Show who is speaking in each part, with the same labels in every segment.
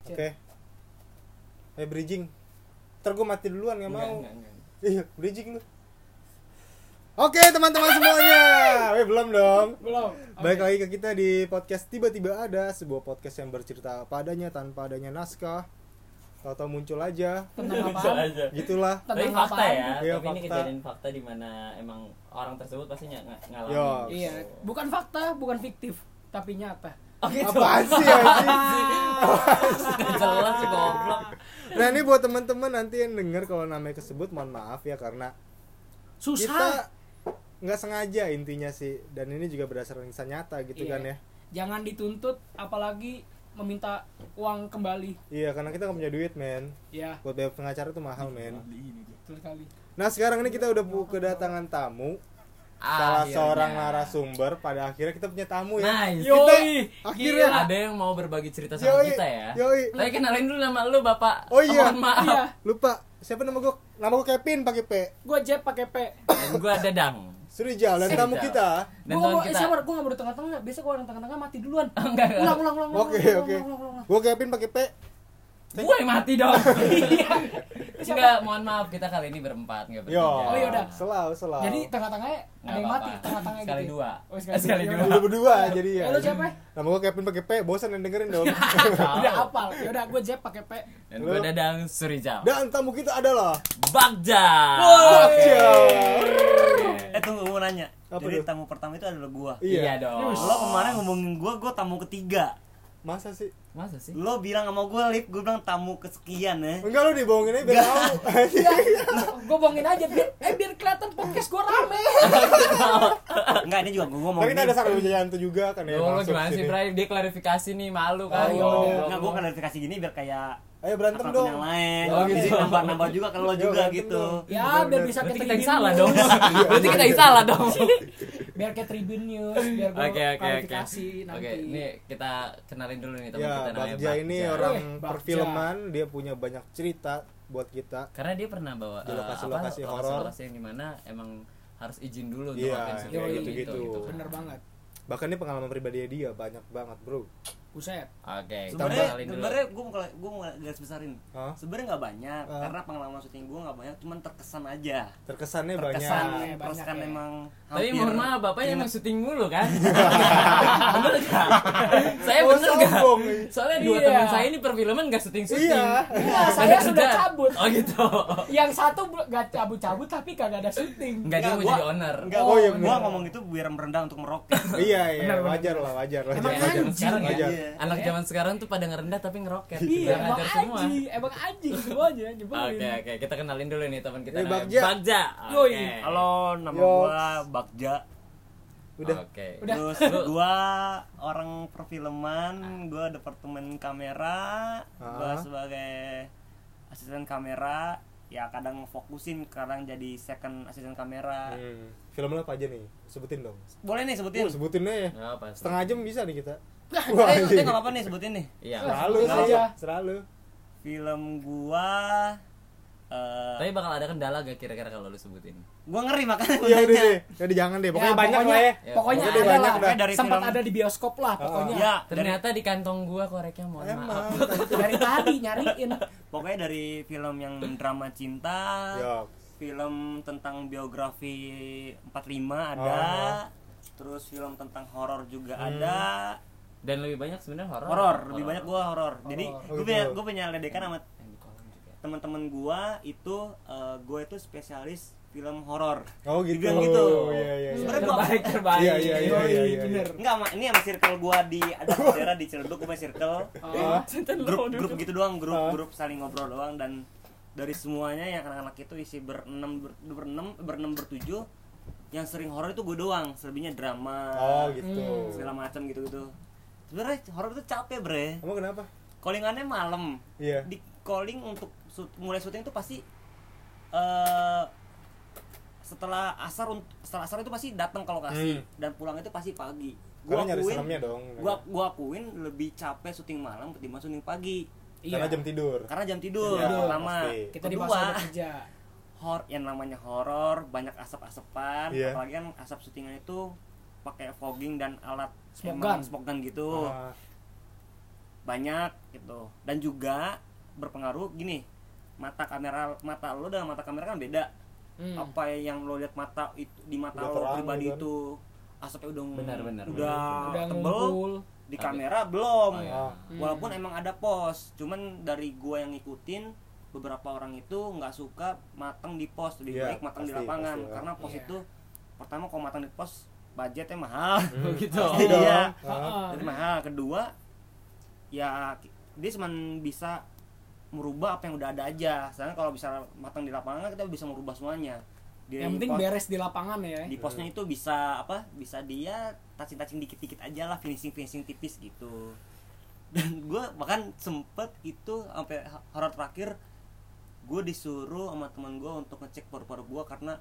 Speaker 1: Oke. Eh bridging. Ntar gue mati duluan nggak
Speaker 2: Enggak,
Speaker 1: mau.
Speaker 2: enggak, enggak.
Speaker 1: Iya bridging lu. Oke teman-teman semuanya. Eh belum dong.
Speaker 2: Belum. Oke.
Speaker 1: Baik lagi ke kita di podcast tiba-tiba ada sebuah podcast yang bercerita padanya tanpa adanya naskah. Atau muncul aja.
Speaker 3: Tentang
Speaker 2: Bisa
Speaker 3: apaan?
Speaker 2: aja.
Speaker 1: Gitulah.
Speaker 3: Tentang
Speaker 4: Tapi fakta
Speaker 3: apaan?
Speaker 4: ya,
Speaker 1: Iya,
Speaker 4: tapi ini
Speaker 1: fakta.
Speaker 4: kejadian fakta di mana emang orang tersebut pasti ny- ng- ngalamin.
Speaker 1: Yo.
Speaker 3: Iya, bukan fakta, bukan fiktif, tapi nyata.
Speaker 4: Oh, gitu.
Speaker 1: Apaan sih anjing?
Speaker 4: Jelas sih goblok.
Speaker 1: Nah ini buat teman-teman nanti yang denger kalau namanya kesebut mohon maaf ya karena
Speaker 3: Susah.
Speaker 1: kita nggak sengaja intinya sih dan ini juga berdasarkan kisah nyata gitu
Speaker 3: Iya.
Speaker 1: kan ya
Speaker 3: Jangan dituntut apalagi meminta uang kembali.
Speaker 1: iya karena kita nggak punya duit men
Speaker 3: Ya,
Speaker 1: buat bayar pengacara tuh mahal men
Speaker 2: Beli ini dia.
Speaker 3: betul kali.
Speaker 1: nah sekarang ini kita udah bu- kedatangan tamu
Speaker 4: Ah,
Speaker 1: salah
Speaker 4: Akhirnya.
Speaker 1: seorang narasumber pada akhirnya kita punya tamu ya
Speaker 4: iya, Nice.
Speaker 3: Yo.
Speaker 1: kita
Speaker 3: Yoi.
Speaker 1: akhirnya
Speaker 4: Ada yang mau berbagi cerita sama
Speaker 1: Yoi.
Speaker 4: kita ya.
Speaker 1: yoi
Speaker 4: Tapi kenalin dulu nama lu Bapak.
Speaker 1: Oh, iya.
Speaker 4: Mohon maaf.
Speaker 3: Iya,
Speaker 1: lupa siapa nama gue nama gue Kevin pakai P
Speaker 3: gua jeb pakai P.
Speaker 4: Dan gua Dadang.
Speaker 1: Surijal dan tamu
Speaker 4: Surijal.
Speaker 1: kita
Speaker 4: Dan
Speaker 3: gua
Speaker 4: tahun
Speaker 3: gua- eh,
Speaker 4: kita
Speaker 3: sabar, gua enggak mau di tengah-tengah. Biasa gua orang tengah-tengah mati duluan.
Speaker 4: Enggak, enggak.
Speaker 3: Ulang, ulang, ulang. ulang,
Speaker 1: oke
Speaker 3: ulang,
Speaker 1: oke
Speaker 3: ulang, ulang, ulang, ulang.
Speaker 1: gue Kevin pakai P
Speaker 4: gua yang mati dong.
Speaker 3: Iya.
Speaker 4: Enggak, mohon maaf kita kali ini berempat enggak bertiga.
Speaker 1: yo
Speaker 3: Oh, yaudah.
Speaker 1: selalu selalu
Speaker 3: Jadi tengah-tengahnya
Speaker 4: Nggak
Speaker 3: ada yang mati,
Speaker 4: apa-apa.
Speaker 3: tengah-tengahnya
Speaker 4: Sekali
Speaker 3: gitu.
Speaker 4: dua.
Speaker 3: Oh, sekali
Speaker 4: Sekali
Speaker 3: dua.
Speaker 4: dua.
Speaker 1: Lu berdua jadi ya.
Speaker 3: Eh, lu siapa?
Speaker 1: Nama gue Kevin pakai P, bosan yang dengerin dong.
Speaker 3: Udah hafal. Ya udah gua jeb pakai P.
Speaker 4: Dan gua
Speaker 1: Lu-
Speaker 4: Dadang Surijal.
Speaker 1: Dan tamu kita adalah
Speaker 4: Bagja.
Speaker 1: Bagja.
Speaker 5: Eh tunggu mau nanya.
Speaker 1: Apa
Speaker 5: Jadi
Speaker 1: tuh?
Speaker 5: tamu pertama itu adalah gua.
Speaker 4: Iya dong.
Speaker 5: Lo kemarin ngomongin gua, gua tamu ketiga.
Speaker 1: Masa sih?
Speaker 4: Masa sih?
Speaker 5: Lo bilang sama gua, Lip, gua bilang tamu kesekian ya.
Speaker 1: Enggak lu dibohongin aja biar
Speaker 5: Enggak.
Speaker 1: tahu. Iya,
Speaker 3: Gua bohongin aja biar eh biar kelihatan podcast gua rame.
Speaker 5: Enggak, ini juga gua
Speaker 1: Tapi
Speaker 5: ngomongin.
Speaker 1: ini ada sarung jajan tuh juga kan ya.
Speaker 4: Lu lu
Speaker 1: masuk
Speaker 4: gimana sih,
Speaker 1: sini.
Speaker 4: Bray? Dia klarifikasi nih, malu kan.
Speaker 1: Oh, iya.
Speaker 4: Goblok.
Speaker 5: Enggak, gua klarifikasi gini biar kayak
Speaker 1: Ayo berantem
Speaker 5: akun
Speaker 1: dong.
Speaker 5: yang lain.
Speaker 4: Oh,
Speaker 5: Jadi
Speaker 4: gitu.
Speaker 5: nambah-nambah juga ke lo
Speaker 1: Yo,
Speaker 5: juga
Speaker 1: berantem
Speaker 5: gitu.
Speaker 1: dong.
Speaker 3: Ya, biar bisa kayak
Speaker 4: Berarti kita yang
Speaker 3: Tribun
Speaker 4: salah
Speaker 3: News.
Speaker 4: dong. Berarti kita yang salah dong.
Speaker 3: biar kayak Tribun News, biar gua
Speaker 4: Oke oke oke.
Speaker 3: klarifikasi nanti.
Speaker 4: Oke, ini kita kenalin dulu nih teman kita
Speaker 1: Ya,
Speaker 4: namanya
Speaker 1: Bagja ini
Speaker 4: Bagja.
Speaker 3: Eh,
Speaker 1: orang
Speaker 3: Bagja.
Speaker 1: perfilman, dia punya banyak cerita buat kita.
Speaker 4: karena dia pernah bawa
Speaker 1: Di
Speaker 4: eh,
Speaker 1: lokasi-lokasi
Speaker 4: apa,
Speaker 1: horor.
Speaker 4: lokasi-lokasi yang dimana emang harus izin dulu untuk gitu.
Speaker 1: Iya,
Speaker 4: apa yang
Speaker 1: iya,
Speaker 4: sudah
Speaker 3: gitu-gitu.
Speaker 4: Oke,
Speaker 3: gitu, Bener banget.
Speaker 1: Bahkan ini pengalaman pribadi dia banyak banget, Bro.
Speaker 3: Buset.
Speaker 4: kita
Speaker 5: Sebenarnya
Speaker 4: kenalin dulu.
Speaker 5: sebenarnya gua mau gua mau garis besarin.
Speaker 1: Hah?
Speaker 5: Sebenarnya nggak banyak
Speaker 1: Hah?
Speaker 5: karena pengalaman syuting gua nggak banyak, cuman terkesan aja.
Speaker 1: Terkesannya
Speaker 5: Terkesan,
Speaker 1: Iya, banyak.
Speaker 3: banyak.
Speaker 5: terus kan
Speaker 3: Banyak ya.
Speaker 5: emang
Speaker 4: Iya, Tapi
Speaker 5: hampir- Iya,
Speaker 4: mohon maaf, bapaknya emang syuting mulu kan? bener gak? saya
Speaker 1: Oh,
Speaker 4: bener gak?
Speaker 1: sombong.
Speaker 4: Soalnya dua
Speaker 3: Iya.
Speaker 4: teman saya ini perfilman gak syuting-syuting.
Speaker 1: Iya.
Speaker 3: Enggak,
Speaker 4: Pada
Speaker 3: saya sudah
Speaker 4: kerja.
Speaker 3: cabut.
Speaker 4: Oh gitu.
Speaker 3: Yang satu bel- nggak cabut-cabut tapi kagak ada syuting.
Speaker 4: Enggak, dia mau
Speaker 5: gua-
Speaker 4: jadi owner.
Speaker 5: Enggak,
Speaker 1: Oh,
Speaker 5: gua,
Speaker 1: iya,
Speaker 5: gua
Speaker 1: bener.
Speaker 5: ngomong itu biar merendah untuk meroket.
Speaker 1: Iya, iya,
Speaker 3: Benar, benar,
Speaker 1: wajar lah, wajar, wajar.
Speaker 4: Emang
Speaker 1: wajar.
Speaker 4: anjing ya?
Speaker 1: Wajar.
Speaker 5: Iya.
Speaker 4: Anak zaman sekarang tuh pada ngerendah tapi ngeroket.
Speaker 3: Iya,
Speaker 4: Udah
Speaker 3: emang
Speaker 4: ngajar semua.
Speaker 3: anjing, emang anjing semuanya
Speaker 4: Oke
Speaker 3: nyebelin.
Speaker 4: oke, kita kenalin dulu nih teman kita
Speaker 1: Ini
Speaker 4: namanya
Speaker 1: Bagja.
Speaker 4: Bagja.
Speaker 3: Yoi.
Speaker 4: Oke.
Speaker 5: Halo, nama
Speaker 1: Yoks.
Speaker 5: gua Bagja.
Speaker 1: Udah.
Speaker 4: Oke.
Speaker 3: Udah.
Speaker 5: Terus gua orang perfilman, gua departemen kamera,
Speaker 1: Ah.
Speaker 5: gua sebagai asisten kamera, ya kadang fokusin, kadang jadi second asisten kamera.
Speaker 1: Hmm. Film lu apa aja nih? Sebutin dong.
Speaker 5: Boleh nih
Speaker 1: Oh,
Speaker 5: sebutin.
Speaker 1: sebutin aja.
Speaker 4: Nggak apa
Speaker 1: Setengah jam bisa nih kita.
Speaker 3: Nah,
Speaker 1: Wah,
Speaker 5: Eh,
Speaker 1: anjing.
Speaker 5: enggak apa-apa nih sebutin nih.
Speaker 4: Iya.
Speaker 1: Selalu
Speaker 3: Nggak
Speaker 1: sih,
Speaker 3: apa.
Speaker 1: selalu.
Speaker 5: Film gua eh
Speaker 4: Tapi bakal ada kendala gak kira-kira kalau lu sebutin?
Speaker 5: gua ngeri makanya gua
Speaker 1: Iya udah
Speaker 5: nanya.
Speaker 1: deh. Jadi jangan deh. Pokoknya
Speaker 3: Ya,
Speaker 1: banyak lah ya. Ah.
Speaker 4: Ya,
Speaker 3: Pokoknya
Speaker 1: pokoknya
Speaker 3: ada
Speaker 1: banyak
Speaker 3: lah.
Speaker 1: dah.
Speaker 5: Dari
Speaker 3: sempat
Speaker 5: film-
Speaker 3: ada di bioskop lah pokoknya.
Speaker 5: Ya, dari-
Speaker 4: Ternyata di kantong gua koreknya mohon
Speaker 1: Emang.
Speaker 4: maaf.
Speaker 3: Dari tadi nyariin.
Speaker 5: pokoknya dari film yang drama cinta, Ya.
Speaker 1: Yo.
Speaker 5: film tentang biografi 45 ada,
Speaker 1: Ah. Hmm.
Speaker 5: terus film tentang horor juga ada.
Speaker 4: Dan lebih banyak sebenarnya horor.
Speaker 5: Horor, lebih banyak gua horor. Jadi
Speaker 1: Ah, Oh,
Speaker 5: gue
Speaker 1: gitu.
Speaker 5: punya gue punya ledekan sama
Speaker 4: Yang di kolam juga.
Speaker 5: teman-teman gua itu eh, gue itu spesialis film horor.
Speaker 1: Oh gitu.
Speaker 5: Dibilang gitu.
Speaker 1: Iya iya. iya.
Speaker 5: Sebenarnya gua
Speaker 4: Terbaik terbaik.
Speaker 1: Iya, iya, iya, iya, iya.
Speaker 3: Bener.
Speaker 5: Enggak, Ma. ini sama circle gua di ada daerah di Ciledug, gua punya circle.
Speaker 1: iya.
Speaker 3: Oh,
Speaker 5: Grup grup gitu doang, grup
Speaker 1: Ah.
Speaker 5: grup saling ngobrol doang dan dari semuanya yang anak-anak itu isi berenam ber- berenam berenam bertujuh yang sering horor itu gue doang, selebihnya drama.
Speaker 1: Oh gitu.
Speaker 5: segala macam gitu-gitu. Sebenarnya horor itu capek, Bre.
Speaker 1: Emang kenapa?
Speaker 5: Callingannya malam.
Speaker 1: Iya.
Speaker 5: Di calling untuk syut- mulai syuting itu pasti eh setelah asar un- setelah asar itu pasti datang kalau
Speaker 1: Hmm.
Speaker 5: kasih dan pulang itu pasti pagi.
Speaker 1: Karena nyari seremnya dong.
Speaker 5: Gua gua akuin lebih capek syuting malam ketimbang syuting pagi.
Speaker 1: Karena jam tidur.
Speaker 5: Karena jam tidur
Speaker 1: Iya,
Speaker 5: pertama.
Speaker 1: pasti.
Speaker 3: Iya. Kita di
Speaker 5: Kedua,
Speaker 3: masa kerja.
Speaker 5: hor yang namanya horor banyak asap-asapan
Speaker 1: Iya.
Speaker 5: apalagi kan asap syutingan itu pakai fogging dan alat
Speaker 3: Smoke
Speaker 5: emang
Speaker 3: gun.
Speaker 5: smoke gun gitu
Speaker 1: Ah,
Speaker 5: banyak gitu dan juga berpengaruh gini mata kamera mata lo dengan mata kamera kan beda
Speaker 4: Hmm.
Speaker 5: apa yang lo lihat mata itu di mata
Speaker 1: Udah
Speaker 5: lo
Speaker 1: terang
Speaker 5: pribadi
Speaker 1: gitu kan.
Speaker 5: itu asapnya udah
Speaker 4: Benar, benar,
Speaker 5: udah,
Speaker 3: udah
Speaker 5: tebel
Speaker 3: ngumpul
Speaker 5: di
Speaker 4: Tapi-
Speaker 5: kamera belum
Speaker 4: Oh, iya.
Speaker 1: Ah.
Speaker 3: Hmm.
Speaker 5: walaupun emang ada pos cuman dari gua yang ngikutin beberapa orang itu nggak suka matang di pos lebih
Speaker 1: Iya,
Speaker 5: baik matang di
Speaker 1: pasti,
Speaker 5: lapangan
Speaker 1: pasti, ya.
Speaker 5: karena pos
Speaker 3: Iya.
Speaker 5: itu pertama kalau matang di pos budgetnya mahal
Speaker 4: Oh, gitu.
Speaker 5: Pasti dong.
Speaker 1: Iya.
Speaker 3: Heeh.
Speaker 5: jadi mahal kedua ya ki- dia cuma bisa merubah apa yang udah ada aja sedangkan kalau bisa matang di lapangan kita bisa merubah semuanya di
Speaker 3: yang penting
Speaker 5: pos-
Speaker 3: beres di lapangan ya
Speaker 5: di posnya itu bisa apa bisa dia tacing-tacing dikit-dikit aja lah finishing finishing tipis gitu dan gue bahkan sempet itu sampai horor terakhir gue disuruh sama teman gue untuk ngecek paru-paru gue karena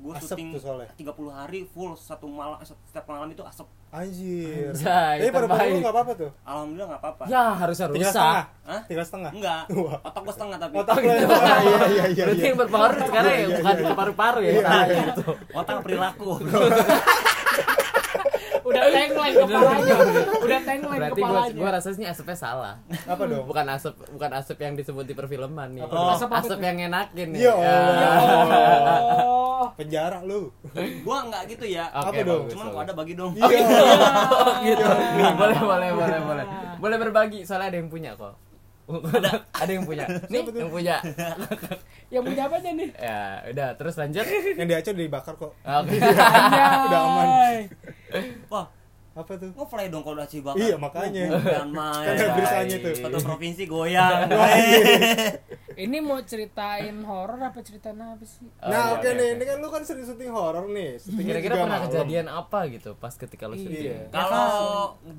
Speaker 5: gue
Speaker 1: Asep
Speaker 5: syuting
Speaker 1: tuh soalnya.
Speaker 5: 30 hari full satu malam setiap malam itu asap
Speaker 1: Anjir.
Speaker 4: Anjay,
Speaker 1: Tapi pada pada lu
Speaker 4: terbaik.
Speaker 1: nggak apa-apa tuh.
Speaker 5: alhamdulillah nggak apa-apa
Speaker 4: Ya harusnya
Speaker 1: Tiga
Speaker 4: rusak.
Speaker 1: setengah.
Speaker 5: Hah? Oh,
Speaker 1: Tiga setengah.
Speaker 5: enggak
Speaker 1: Wah.
Speaker 5: otak gue setengah tapi
Speaker 1: Otak lu. Iya iya iya.
Speaker 4: Berarti
Speaker 1: iya.
Speaker 4: yang berpengaruh sekarang ya bukan ke paru-paru ya. Nah, gitu.
Speaker 5: otak perilaku
Speaker 1: gitu.
Speaker 3: udah tenglain kepalanya udah tenglain
Speaker 4: Berarti gua
Speaker 3: kepalanya Ya
Speaker 4: gua rasanya ini asapnya salah.
Speaker 1: Apa dong?
Speaker 4: Bukan asap bukan asap yang disebut di perfilman nih.
Speaker 1: Oh.
Speaker 4: Asap, asap yang enakin nih.
Speaker 1: Ya
Speaker 4: Ya.
Speaker 1: Allah.
Speaker 3: oh
Speaker 1: Penjara lu.
Speaker 5: gue enggak gitu ya
Speaker 1: Apa
Speaker 4: Oke,
Speaker 1: dong?
Speaker 4: bagus,
Speaker 5: cuman
Speaker 4: bagus.
Speaker 5: kalau ada Iya. bagi dong
Speaker 1: Iya.
Speaker 4: Oh, gitu. boleh
Speaker 3: Ya.
Speaker 4: boleh boleh
Speaker 5: Iya.
Speaker 4: boleh. Boleh berbagi soalnya ada yang punya kok. Ada ada yang punya. Nih yang punya.
Speaker 3: yang punya apa aja nih
Speaker 4: Ya, udah terus lanjut.
Speaker 1: Yang di Aceh udah dibakar kok.
Speaker 4: Oke.
Speaker 1: Udah aman.
Speaker 3: Hai.
Speaker 5: wah
Speaker 1: Apa tuh?
Speaker 5: gue play dong kalau udah cibakar
Speaker 1: Iya, makanya. Kan
Speaker 5: dan main
Speaker 1: ada beritanya tuh. Iya.
Speaker 5: satu provinsi goyang
Speaker 3: ini mau ceritain horor apa cerita apa sih
Speaker 1: Nah, oke nih, ini kan lu kan sering syuting horor nih. Syutingnya
Speaker 4: iya, Oh, Kira-kira
Speaker 1: juga
Speaker 4: pernah
Speaker 1: malam.
Speaker 4: kejadian apa gitu pas ketika lu
Speaker 1: Iya.
Speaker 4: syuting?
Speaker 5: kalau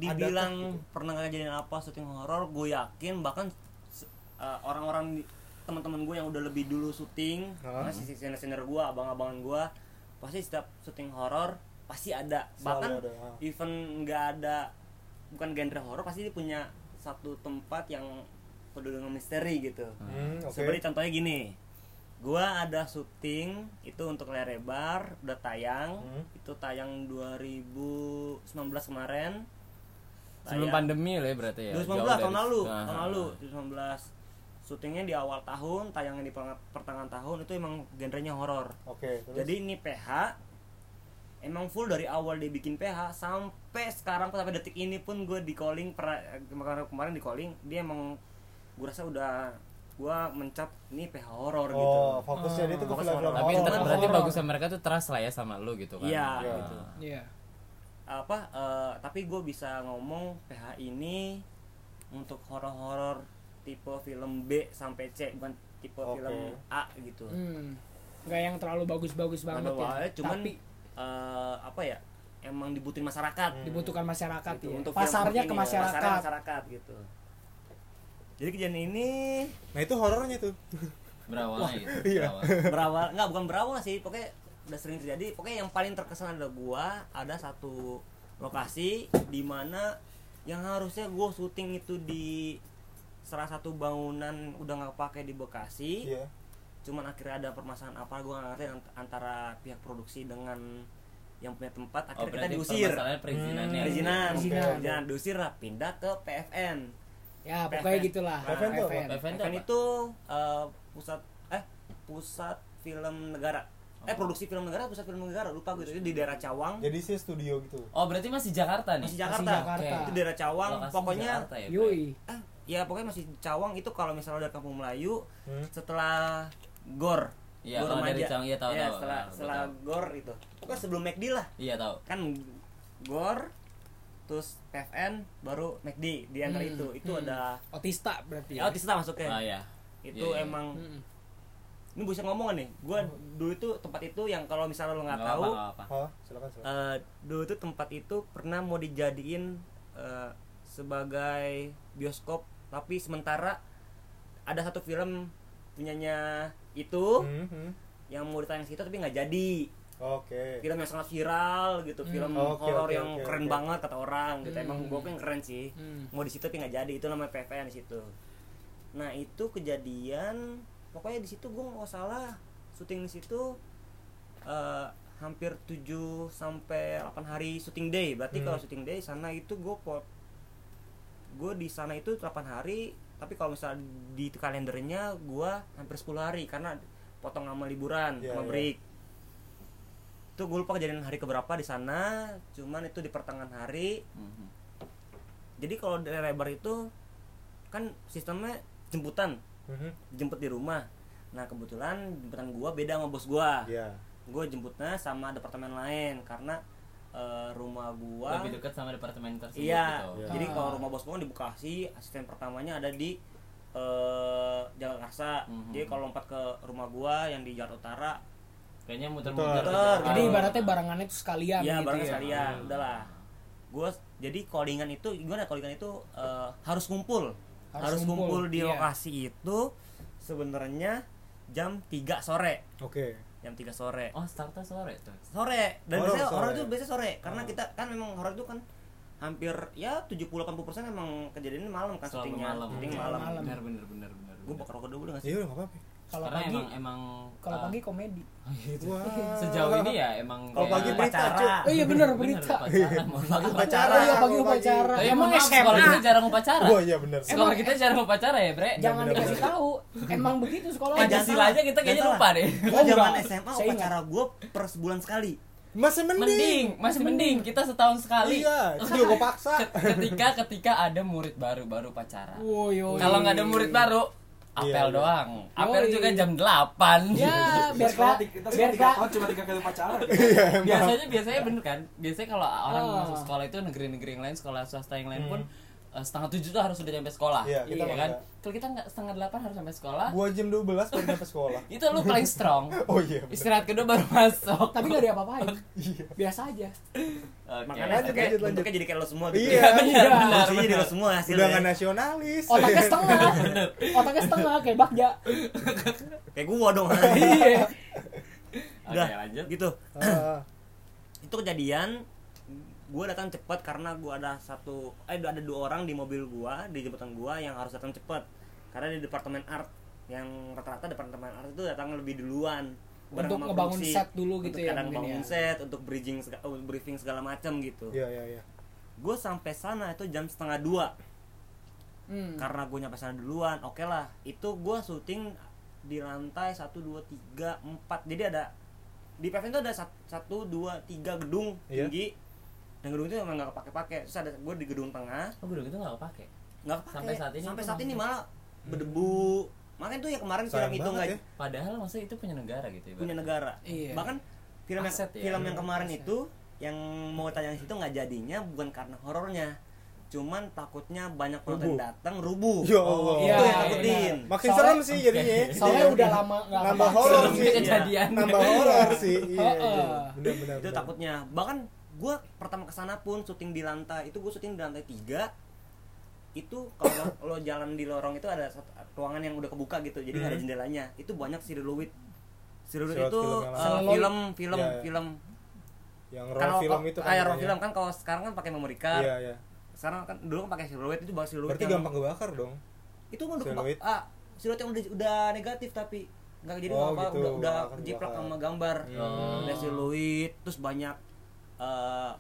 Speaker 5: dibilang pernah kejadian apa syuting horor gue yakin bahkan se- uh, orang-orang di- teman-teman gue yang udah lebih dulu syuting
Speaker 1: Hah?
Speaker 5: karena sisi senior gue abang-abangan gue pasti setiap syuting horor pasti ada
Speaker 1: Selalu
Speaker 5: bahkan
Speaker 1: ada, ah.
Speaker 5: even nggak ada bukan genre horor pasti dia punya satu tempat yang penuh dengan misteri gitu
Speaker 1: Hmm, oke.
Speaker 5: Seperti contohnya gini. Gua ada syuting itu untuk Lerebar udah tayang.
Speaker 1: Hmm.
Speaker 5: Itu tayang 2019 kemarin.
Speaker 4: Sebelum
Speaker 5: Tayang-
Speaker 4: pandemi lah ya berarti ya.
Speaker 5: 2019
Speaker 4: jauh
Speaker 5: tahun
Speaker 4: dari-
Speaker 5: lalu,
Speaker 4: Ah.
Speaker 5: tahun lalu 2019. Syutingnya di awal tahun, tayangnya di perteng- pertengahan tahun itu emang genrenya horor.
Speaker 1: Oke, terus?
Speaker 5: Jadi ini PH emang full dari awal dia bikin PH sampai sekarang sampai detik ini pun gue di calling per- kemarin kemarin di calling dia emang gue rasa udah gue mencap ini PH horor gitu.
Speaker 1: Oh, fokusnya dia tuh ke
Speaker 5: Fokus
Speaker 1: film-film
Speaker 5: horor.
Speaker 4: Tapi
Speaker 1: horor.
Speaker 4: inter-
Speaker 3: Horor.
Speaker 4: berarti bagus sama mereka tuh trust lah ya sama lu gitu kan.
Speaker 5: Iya
Speaker 1: Iya.
Speaker 5: gitu.
Speaker 3: iya
Speaker 5: Apa eh, tapi gue bisa ngomong PH ini untuk horor-horor tipe film B sampai C bukan tipe
Speaker 1: Oke.
Speaker 5: film A gitu.
Speaker 3: hmm. nggak yang terlalu bagus-bagus banget
Speaker 5: Kalau
Speaker 3: ya
Speaker 5: awalnya cuman
Speaker 3: tapi
Speaker 5: eh, apa ya? Emang dibutuhin masyarakat.
Speaker 3: dibutuhkan masyarakat
Speaker 5: Gitu,
Speaker 3: ya
Speaker 5: untuk
Speaker 3: pasarnya
Speaker 5: film
Speaker 3: ke
Speaker 5: ini, pasarnya
Speaker 3: masyarakat
Speaker 5: masyarakat gitu jadi kejadian ini
Speaker 1: Nah, itu horornya tuh.
Speaker 4: Berawal gitu.
Speaker 1: Iya.
Speaker 4: berawal.
Speaker 5: berawal nggak bukan berawal sih pokoknya udah sering terjadi pokoknya yang paling terkesan ada gua ada satu lokasi di mana yang harusnya gua syuting itu di salah satu bangunan udah nggak pakai di Bekasi
Speaker 1: Iya.
Speaker 5: cuman akhirnya ada permasalahan apa gua nggak ngerti ant- antara pihak produksi dengan yang punya tempat
Speaker 4: Oh,
Speaker 5: akhirnya kita
Speaker 4: berarti
Speaker 5: kan diusir
Speaker 4: permasalahannya ya? perizinannya.
Speaker 1: Hmm.
Speaker 5: perizinan
Speaker 1: Oke.
Speaker 5: perizinan diusir lah pindah ke PFN
Speaker 3: ya pokoknya
Speaker 5: PFN.
Speaker 3: gitulah
Speaker 1: PFN tuh apa?
Speaker 4: PFN
Speaker 5: Event
Speaker 4: itu
Speaker 5: itu eh, pusat eh pusat film negara.
Speaker 4: Oh.
Speaker 5: Eh produksi film negara, pusat film negara lupa gue itu di daerah Cawang.
Speaker 1: Jadi sih studio gitu.
Speaker 4: Oh, berarti masih Jakarta nih.
Speaker 5: Masih Jakarta.
Speaker 3: Jakarta.
Speaker 5: Itu daerah Cawang.
Speaker 4: Lokasi
Speaker 5: pokoknya
Speaker 4: Jakarta ya, Pak?
Speaker 3: yui
Speaker 5: eh ya pokoknya masih Cawang itu kalau misalnya dari Kampung Melayu
Speaker 1: Hmm.
Speaker 5: setelah Gor.
Speaker 4: Iya,
Speaker 5: Gor
Speaker 4: kalau dari
Speaker 5: Remaja.
Speaker 4: Cawang, iya, tahu,
Speaker 5: Iya,
Speaker 4: tahu,
Speaker 5: setelah
Speaker 4: tahu,
Speaker 5: setelah
Speaker 4: tahu.
Speaker 5: Gor itu. Pokoknya sebelum McD lah.
Speaker 4: Iya tahu.
Speaker 5: Kan Gor terus PFN baru McD di antara
Speaker 3: Hmm,
Speaker 5: itu. Itu
Speaker 3: hmm.
Speaker 5: ada
Speaker 3: otista berarti Hmm.
Speaker 5: ya
Speaker 3: ya
Speaker 5: Otista masuknya.
Speaker 4: Ah ya.
Speaker 5: Itu
Speaker 4: Iya, iya.
Speaker 5: emang
Speaker 3: Mm-mm.
Speaker 5: ini bisa ngomong nih gue
Speaker 1: Hmm.
Speaker 5: dulu itu tempat itu yang kalau misalnya lo nggak tahu
Speaker 4: apa.
Speaker 1: Oh, silakan silakan.
Speaker 5: eh, dulu tuh tempat itu pernah mau dijadiin eh, sebagai bioskop tapi sementara ada satu film punyanya itu
Speaker 1: Hmm, hmm.
Speaker 5: yang mau ditayang situ tapi nggak jadi
Speaker 1: Oke.
Speaker 5: film yang sangat viral gitu film
Speaker 1: Oke, Hmm. oke,
Speaker 5: horor
Speaker 1: oke,
Speaker 5: yang
Speaker 1: oke,
Speaker 5: keren
Speaker 1: oke.
Speaker 5: banget kata orang gitu emang
Speaker 3: Hmm.
Speaker 5: gue keren sih
Speaker 3: Hmm.
Speaker 5: mau di situ tapi nggak jadi itu namanya PVN di situ nah itu kejadian pokoknya di situ gue nggak salah syuting di situ eh, hampir 7 sampai 8 hari syuting day berarti
Speaker 1: Hmm.
Speaker 5: kalau syuting day sana itu gue pot gue di sana itu 8 hari tapi kalau misalnya di kalendernya gue hampir 10 hari karena potong sama liburan
Speaker 1: Iya,
Speaker 5: sama
Speaker 1: iya.
Speaker 5: break itu gue lupa kejadian hari keberapa di sana cuman itu di pertengahan hari
Speaker 4: Mhm.
Speaker 5: jadi kalau dari lebar itu kan sistemnya jemputan
Speaker 1: Mhm.
Speaker 5: jemput di rumah nah kebetulan jemputan gua beda sama bos gua
Speaker 1: Iya.
Speaker 5: gue jemputnya sama departemen lain karena eh, rumah gua
Speaker 4: lebih dekat sama departemen tersebut
Speaker 5: iya
Speaker 4: gitu.
Speaker 1: Iya.
Speaker 5: jadi
Speaker 3: Ah.
Speaker 5: kalau rumah bos gua kan di Bekasi asisten pertamanya ada di eh, Jakarta
Speaker 4: Mhm.
Speaker 5: jadi kalau lompat ke rumah gua yang di Jakarta Utara
Speaker 4: Kayaknya muter-muter. gitu.
Speaker 5: Muter.
Speaker 4: terus ke
Speaker 3: Jadi
Speaker 5: Ah.
Speaker 4: Jakarta.
Speaker 3: ibaratnya barangannya itu sekalian
Speaker 5: ya
Speaker 3: gitu
Speaker 5: barangnya
Speaker 3: ya.
Speaker 5: sekalian
Speaker 4: Hmm.
Speaker 5: udahlah gue jadi callingan itu gimana ya callingan itu eh, harus ngumpul
Speaker 3: Harus
Speaker 5: harus,
Speaker 3: ngumpul,
Speaker 5: ngumpul, di
Speaker 3: iya.
Speaker 5: lokasi itu sebenarnya jam 3 sore
Speaker 1: Oke.
Speaker 5: jam 3 sore
Speaker 4: Oh, startnya sore tuh.
Speaker 5: sore dan
Speaker 3: Oh,
Speaker 1: Horor
Speaker 5: biasanya
Speaker 1: sore.
Speaker 5: horor itu biasanya sore karena kita kan memang horor itu kan hampir ya 70-80% emang kejadiannya malam kan
Speaker 4: Selalu
Speaker 5: syutingnya
Speaker 4: malam.
Speaker 5: syuting
Speaker 3: Iya,
Speaker 5: malam,
Speaker 3: malam.
Speaker 4: Benar benar benar benar.
Speaker 5: gue bakar rokok dulu nggak sih
Speaker 1: Iya udah nggak apa-apa.
Speaker 3: Kalau
Speaker 4: Karena
Speaker 3: pagi
Speaker 4: emang emang gitu.
Speaker 3: kalau
Speaker 4: eh,
Speaker 3: pagi komedi.
Speaker 1: Wah.
Speaker 4: sejauh ini ya emang
Speaker 1: Kalau pagi
Speaker 4: kayak-
Speaker 1: berita, cuy.
Speaker 5: pacaran
Speaker 3: Oh iya benar
Speaker 4: Bener,
Speaker 3: berita.
Speaker 4: upacara. Mohon maaf.
Speaker 1: Upacara.
Speaker 3: Iya, pagi
Speaker 1: kalau
Speaker 3: upacara.
Speaker 4: Tapi
Speaker 3: Emang
Speaker 4: emang maaf,
Speaker 3: SMA.
Speaker 4: sekolah kita jarang upacara.
Speaker 1: Wah iya bener.
Speaker 4: Sekolah kita jarang upacara ya, Bre.
Speaker 3: Jangan
Speaker 1: benar-benar.
Speaker 3: dikasih tahu. Emang begitu sekolah.
Speaker 5: Eh, jangan
Speaker 4: Pancasila
Speaker 5: salah.
Speaker 4: aja kita kayaknya
Speaker 5: Jangan
Speaker 4: lupa
Speaker 5: salah.
Speaker 4: deh.
Speaker 5: gue zaman
Speaker 3: Enggak.
Speaker 5: SMA
Speaker 3: Saya ingat.
Speaker 5: upacara gue per sebulan sekali
Speaker 1: Masih mending.
Speaker 4: Mending, masih mending kita setahun sekali.
Speaker 1: Iya. Itu juga gua paksa.
Speaker 4: Ket- ketika ketika ada murid baru baru pacaran.
Speaker 3: Woi, woi.
Speaker 4: Kalau nggak ada murid baru, apel
Speaker 1: Iya, iya.
Speaker 4: doang. Apel
Speaker 3: Yoi.
Speaker 4: juga jam 8.
Speaker 3: Ya, biar kak,
Speaker 2: sekolah tiga- kita
Speaker 3: biar
Speaker 2: sekolah tiga
Speaker 3: kak.
Speaker 2: tahun cuma tiga kali pacaran
Speaker 4: biasanya biasanya bener kan? Biasanya kalau orang
Speaker 3: Ah.
Speaker 4: masuk sekolah itu negeri-negeri yang lain, sekolah swasta yang lain pun eh, setengah tujuh tuh harus sudah nyampe sekolah,
Speaker 1: Hmm. Iya, kita
Speaker 4: iya
Speaker 1: nggak
Speaker 4: kan?
Speaker 1: ada.
Speaker 4: Kalau kita nggak setengah delapan harus sampai sekolah,
Speaker 1: Gua jam 12 baru nyampe sekolah.
Speaker 4: itu lu paling strong.
Speaker 1: Oh iya. bener.
Speaker 4: Istirahat kedua baru masuk.
Speaker 3: Tapi nggak ada apa-apain.
Speaker 1: Iya.
Speaker 3: Biasa aja.
Speaker 4: Oke.
Speaker 5: makanya
Speaker 1: Lanjut, lanjut,
Speaker 5: kayak
Speaker 1: lanjut.
Speaker 5: bentuknya jadi kayak lo semua gitu
Speaker 1: Iya.
Speaker 4: Benar, benar,
Speaker 5: Fungsinya jadi
Speaker 4: benar.
Speaker 5: lo semua
Speaker 1: Udah nggak
Speaker 5: hasilnya
Speaker 1: nasionalis.
Speaker 3: Otaknya Oh, setengah. Otaknya setengah kayak bakja.
Speaker 5: kayak gue dong
Speaker 3: Iya.
Speaker 4: Oke,
Speaker 5: udah
Speaker 4: lanjut.
Speaker 5: gitu
Speaker 1: Ah,
Speaker 5: itu kejadian gue datang cepat karena gue ada satu eh ada dua orang di mobil gue di jembatan gue yang harus datang cepat karena di departemen art yang rata-rata departemen art itu datang lebih duluan bareng
Speaker 3: Untuk
Speaker 5: sama
Speaker 3: ngebangun
Speaker 5: produksi.
Speaker 3: set dulu gitu
Speaker 5: Untuk
Speaker 3: ya
Speaker 5: kadang
Speaker 3: mungkin ya.
Speaker 5: bangun set untuk bridging sega- uh, briefing segala macam gitu
Speaker 1: Iya iya iya.
Speaker 5: gue sampai sana itu jam setengah dua
Speaker 3: Hmm.
Speaker 5: karena gue nyampe sana duluan oke lah itu gue syuting di lantai satu dua tiga empat jadi ada di pavilion itu ada sat- satu dua tiga gedung
Speaker 1: Iya.
Speaker 5: tinggi dan gedung itu emang nggak kepake pakai terus ada gue di gedung tengah
Speaker 4: Oh, udah gitu nggak kepake.
Speaker 5: nggak kepake
Speaker 4: Sampai saat ini
Speaker 5: sampai
Speaker 4: itu
Speaker 5: saat ini
Speaker 4: masih-
Speaker 5: malah berdebu makanya tuh ya kemarin film
Speaker 1: Sayang
Speaker 5: itu nggak
Speaker 1: banget ya.
Speaker 4: Padahal maksudnya itu punya negara gitu ya.
Speaker 5: punya negara
Speaker 3: Iya.
Speaker 5: bahkan film yang,
Speaker 4: Aset ya.
Speaker 5: film yang kemarin
Speaker 3: Aset.
Speaker 5: itu yang mau tayang itu nggak jadinya bukan karena horornya cuman takutnya banyak penonton
Speaker 1: Rubuh.
Speaker 5: datang rubuh
Speaker 1: Ya Allah.
Speaker 5: itu
Speaker 3: Iya,
Speaker 5: yang takutin
Speaker 3: benar.
Speaker 1: Makin
Speaker 3: Soalnya-
Speaker 1: serem sih jadinya. ya.
Speaker 3: Soalnya
Speaker 1: Gitu ya.
Speaker 3: udah lama nggak
Speaker 1: Nambah
Speaker 3: kepake.
Speaker 1: horor
Speaker 5: Serem
Speaker 1: sih.
Speaker 5: juga
Speaker 1: Iya.
Speaker 4: kejadian.
Speaker 1: Nambah horor sih. Iya.
Speaker 3: Heeh.
Speaker 1: iya. Bener bener.
Speaker 5: itu
Speaker 1: bener.
Speaker 5: takutnya bahkan gue pertama kesana pun syuting di lantai itu gue syuting di lantai tiga itu kalau lo, lo jalan di lorong itu ada satu ruangan yang udah kebuka gitu jadi nggak ada
Speaker 1: Hmm.
Speaker 5: jendelanya itu banyak celluloid celluloid
Speaker 1: Surat
Speaker 5: itu
Speaker 1: film yang
Speaker 3: lama.
Speaker 5: eh, film film
Speaker 1: Iya, iya.
Speaker 5: film
Speaker 1: Yang raw film itu
Speaker 5: kan
Speaker 1: katanya.
Speaker 5: film kan kalau sekarang kan pakai memory card
Speaker 1: Iya iya.
Speaker 5: sekarang kan dulu kan pakai celluloid itu bahas celluloid
Speaker 1: Berarti
Speaker 5: yang-
Speaker 1: gampang kebakar dong.
Speaker 5: itu mah udah
Speaker 1: Celluloid.
Speaker 5: keba- ah, celluloid yang udah, udah negatif tapi nggak jadi
Speaker 1: Oh,
Speaker 5: apa
Speaker 1: gitu.
Speaker 5: udah udah
Speaker 1: Akan
Speaker 5: kejiplak
Speaker 1: dibakar.
Speaker 5: sama gambar
Speaker 4: Hmm.
Speaker 5: udah siluit terus banyak eh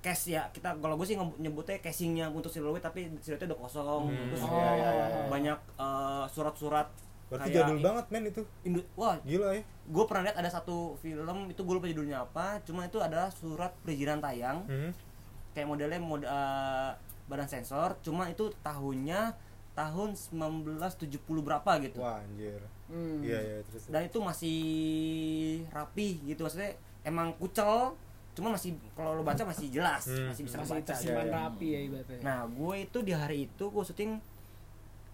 Speaker 5: case ya kita kalau gue sih nge- nyebutnya casingnya untuk siluit tapi siluitnya udah kosong
Speaker 1: Hmm,
Speaker 5: terus
Speaker 3: Oh.
Speaker 1: iya, iya, iya,
Speaker 3: Hmm.
Speaker 1: iya.
Speaker 5: banyak eh, surat-surat
Speaker 1: Berarti
Speaker 5: kayak
Speaker 1: jadul banget men itu.
Speaker 5: Indo- wah
Speaker 1: Gila ya.
Speaker 5: gue pernah lihat ada satu film itu gue lupa judulnya apa cuma itu adalah surat perizinan tayang
Speaker 1: Hmm.
Speaker 5: kayak modelnya mod, eh, badan sensor cuma itu tahunnya tahun 1970 berapa gitu
Speaker 1: Wah anjir.
Speaker 3: Hmm.
Speaker 1: Iya iya terus.
Speaker 5: dan itu masih rapi gitu maksudnya emang kucel cuma masih kalau lo baca masih jelas
Speaker 1: Hmm,
Speaker 5: masih bisa
Speaker 3: Masih
Speaker 5: baca
Speaker 3: tersimpan
Speaker 1: Iya, iya.
Speaker 3: rapi ya ibaratnya.
Speaker 5: nah gue itu di hari itu gue syuting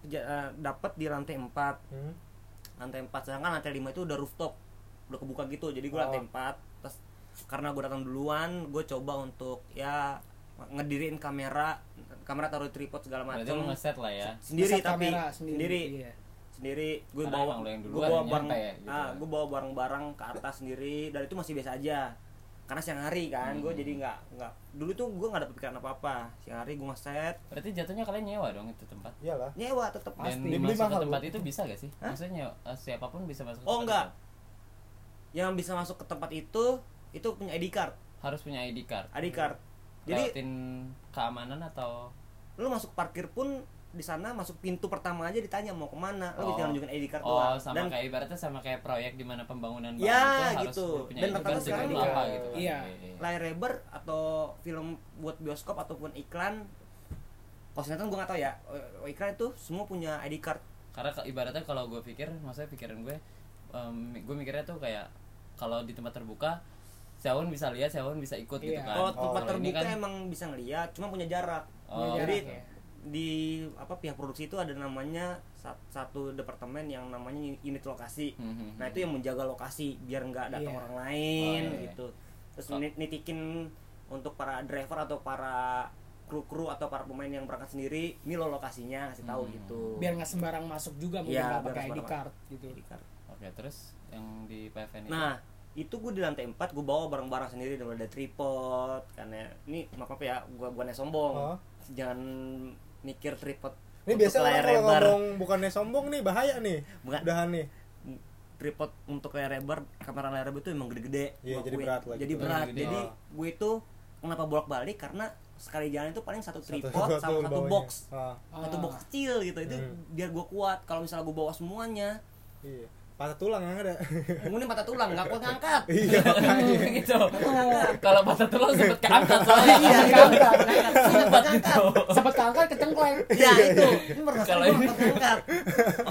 Speaker 5: ja- eh, dapat di lantai 4
Speaker 1: Hmm.
Speaker 5: lantai 4 sedangkan lantai 5 itu udah rooftop udah kebuka gitu jadi gue
Speaker 1: Oh.
Speaker 5: lantai 4 terus karena gue datang duluan gue coba untuk ya ngedirin kamera kamera taruh tripod segala
Speaker 4: Berarti lu
Speaker 5: macam
Speaker 4: ngeset lah ya.
Speaker 5: sendiri
Speaker 3: Set
Speaker 5: tapi
Speaker 3: kamera
Speaker 5: sendiri
Speaker 3: Iya.
Speaker 5: sendiri gue
Speaker 4: Karena
Speaker 5: bawa
Speaker 4: emang lo yang
Speaker 5: gue
Speaker 4: duluan
Speaker 5: bawa
Speaker 4: yang
Speaker 5: barang
Speaker 4: nyampe ya, gitu
Speaker 5: ah
Speaker 4: ya.
Speaker 5: gue bawa barang-barang ke atas sendiri dan itu masih biasa aja karena siang hari kan gue
Speaker 4: Hmm.
Speaker 5: jadi nggak nggak dulu tuh gue nggak ada pikiran apa apa siang hari gue ngeset
Speaker 4: Berarti jatuhnya kalian nyewa dong itu tempat.
Speaker 1: Iyalah.
Speaker 5: nyewa tetap
Speaker 4: Dan
Speaker 3: Pasti.
Speaker 1: Dibeli
Speaker 4: masuk ke
Speaker 1: mahal,
Speaker 4: tempat
Speaker 1: Bu.
Speaker 4: itu bisa gak sih?
Speaker 5: Hah?
Speaker 4: Maksudnya nyewa- eh, siapapun bisa masuk. ke
Speaker 5: Oh,
Speaker 4: tempat
Speaker 5: enggak.
Speaker 4: itu.
Speaker 5: yang bisa masuk ke tempat itu itu punya ID card
Speaker 4: Harus punya ID card.
Speaker 5: ID card
Speaker 4: Jadi
Speaker 5: jadi
Speaker 4: keamanan atau
Speaker 5: lu masuk parkir pun di sana masuk pintu pertama aja ditanya mau kemana lu
Speaker 4: Oh.
Speaker 5: bisa nunjukin ID card
Speaker 4: Oh,
Speaker 5: doang.
Speaker 4: sama
Speaker 5: dan
Speaker 4: kayak ibaratnya sama kayak proyek di mana pembangunan
Speaker 5: Ya,
Speaker 4: bangunan
Speaker 5: gitu.
Speaker 4: harus punya
Speaker 5: Dan
Speaker 4: itu
Speaker 5: rata-rata
Speaker 4: kan
Speaker 5: sekarang
Speaker 4: sebagai apa
Speaker 3: juga.
Speaker 4: gitu kan.
Speaker 3: Iya.
Speaker 5: layar lebar atau film buat bioskop ataupun iklan kalau sinetron gue gak tau ya eh, iklan itu semua punya ID card
Speaker 4: Karena ke- ibaratnya kalau gue pikir, maksudnya pikiran gue gue mikirnya tuh kayak kalau di tempat terbuka Sewon bisa lihat, Sewon bisa ikut gitu
Speaker 3: Iya.
Speaker 4: kan.
Speaker 5: kalau
Speaker 1: Oh,
Speaker 5: tempat
Speaker 4: Kalau ini
Speaker 5: terbuka
Speaker 4: kan-
Speaker 5: emang bisa ngeliat cuma punya jarak
Speaker 4: Oh,
Speaker 3: Punya
Speaker 5: jadi
Speaker 3: jarak ya.
Speaker 5: di apa pihak produksi itu ada namanya sa- satu departemen yang namanya unit lokasi
Speaker 4: Mhm.
Speaker 5: nah itu yang menjaga lokasi biar nggak datang
Speaker 3: Iya.
Speaker 5: orang lain
Speaker 4: Oh, iya, iya.
Speaker 5: gitu terus
Speaker 4: Oh.
Speaker 5: nit- nitikin untuk para driver atau para kru kru atau para pemain yang berangkat sendiri ini lo lokasinya kasih tahu
Speaker 4: Hmm.
Speaker 5: gitu
Speaker 3: biar nggak sembarang masuk juga mungkin
Speaker 5: Iya,
Speaker 3: nggak
Speaker 5: biar
Speaker 3: pakai ID
Speaker 5: sembarang.
Speaker 3: card gitu
Speaker 5: Jadi kan.
Speaker 4: Oke, terus yang di PFN itu.
Speaker 5: nah itu gue di lantai 4 gue bawa barang-barang sendiri dari ada tripod karena ini maaf maaf ya gue bukannya sombong
Speaker 1: Oh.
Speaker 5: jangan mikir tripod
Speaker 1: Ini
Speaker 5: untuk
Speaker 1: biasa orang
Speaker 5: layar
Speaker 1: kalau
Speaker 5: lebar.
Speaker 1: ngomong bukannya sombong nih bahaya nih.
Speaker 5: Bukan.
Speaker 1: Udahan nih.
Speaker 5: tripod untuk layar lebar kamera layar lebar itu emang gede-gede
Speaker 1: Iya,
Speaker 5: gua
Speaker 1: jadi
Speaker 5: akuin.
Speaker 1: berat lah
Speaker 5: jadi
Speaker 1: gitu.
Speaker 5: berat
Speaker 4: Gede.
Speaker 5: jadi
Speaker 1: Oh.
Speaker 5: gue itu kenapa bolak-balik karena sekali jalan itu paling satu tripod
Speaker 1: satu
Speaker 5: sama satu
Speaker 1: bawahnya.
Speaker 5: box
Speaker 1: Ah,
Speaker 5: satu
Speaker 3: Ah.
Speaker 5: box kecil gitu itu
Speaker 1: Hmm.
Speaker 5: biar gue kuat kalau misalnya gue bawa semuanya
Speaker 1: iya. Patah tulang yang ada.
Speaker 5: mungkin patah tulang nggak kuat ngangkat
Speaker 1: iya.
Speaker 4: Hmm, gitu. Kalau patah tulang sempet keangkat
Speaker 3: Oh,
Speaker 4: soalnya.
Speaker 5: iya
Speaker 3: ngangkat.
Speaker 5: ngangkat
Speaker 4: Sempet gitu.
Speaker 3: sempet keangkat kecengkleng
Speaker 5: ya itu ini merasa
Speaker 4: Kalau
Speaker 5: gue
Speaker 4: ini-
Speaker 5: kuat ngangkat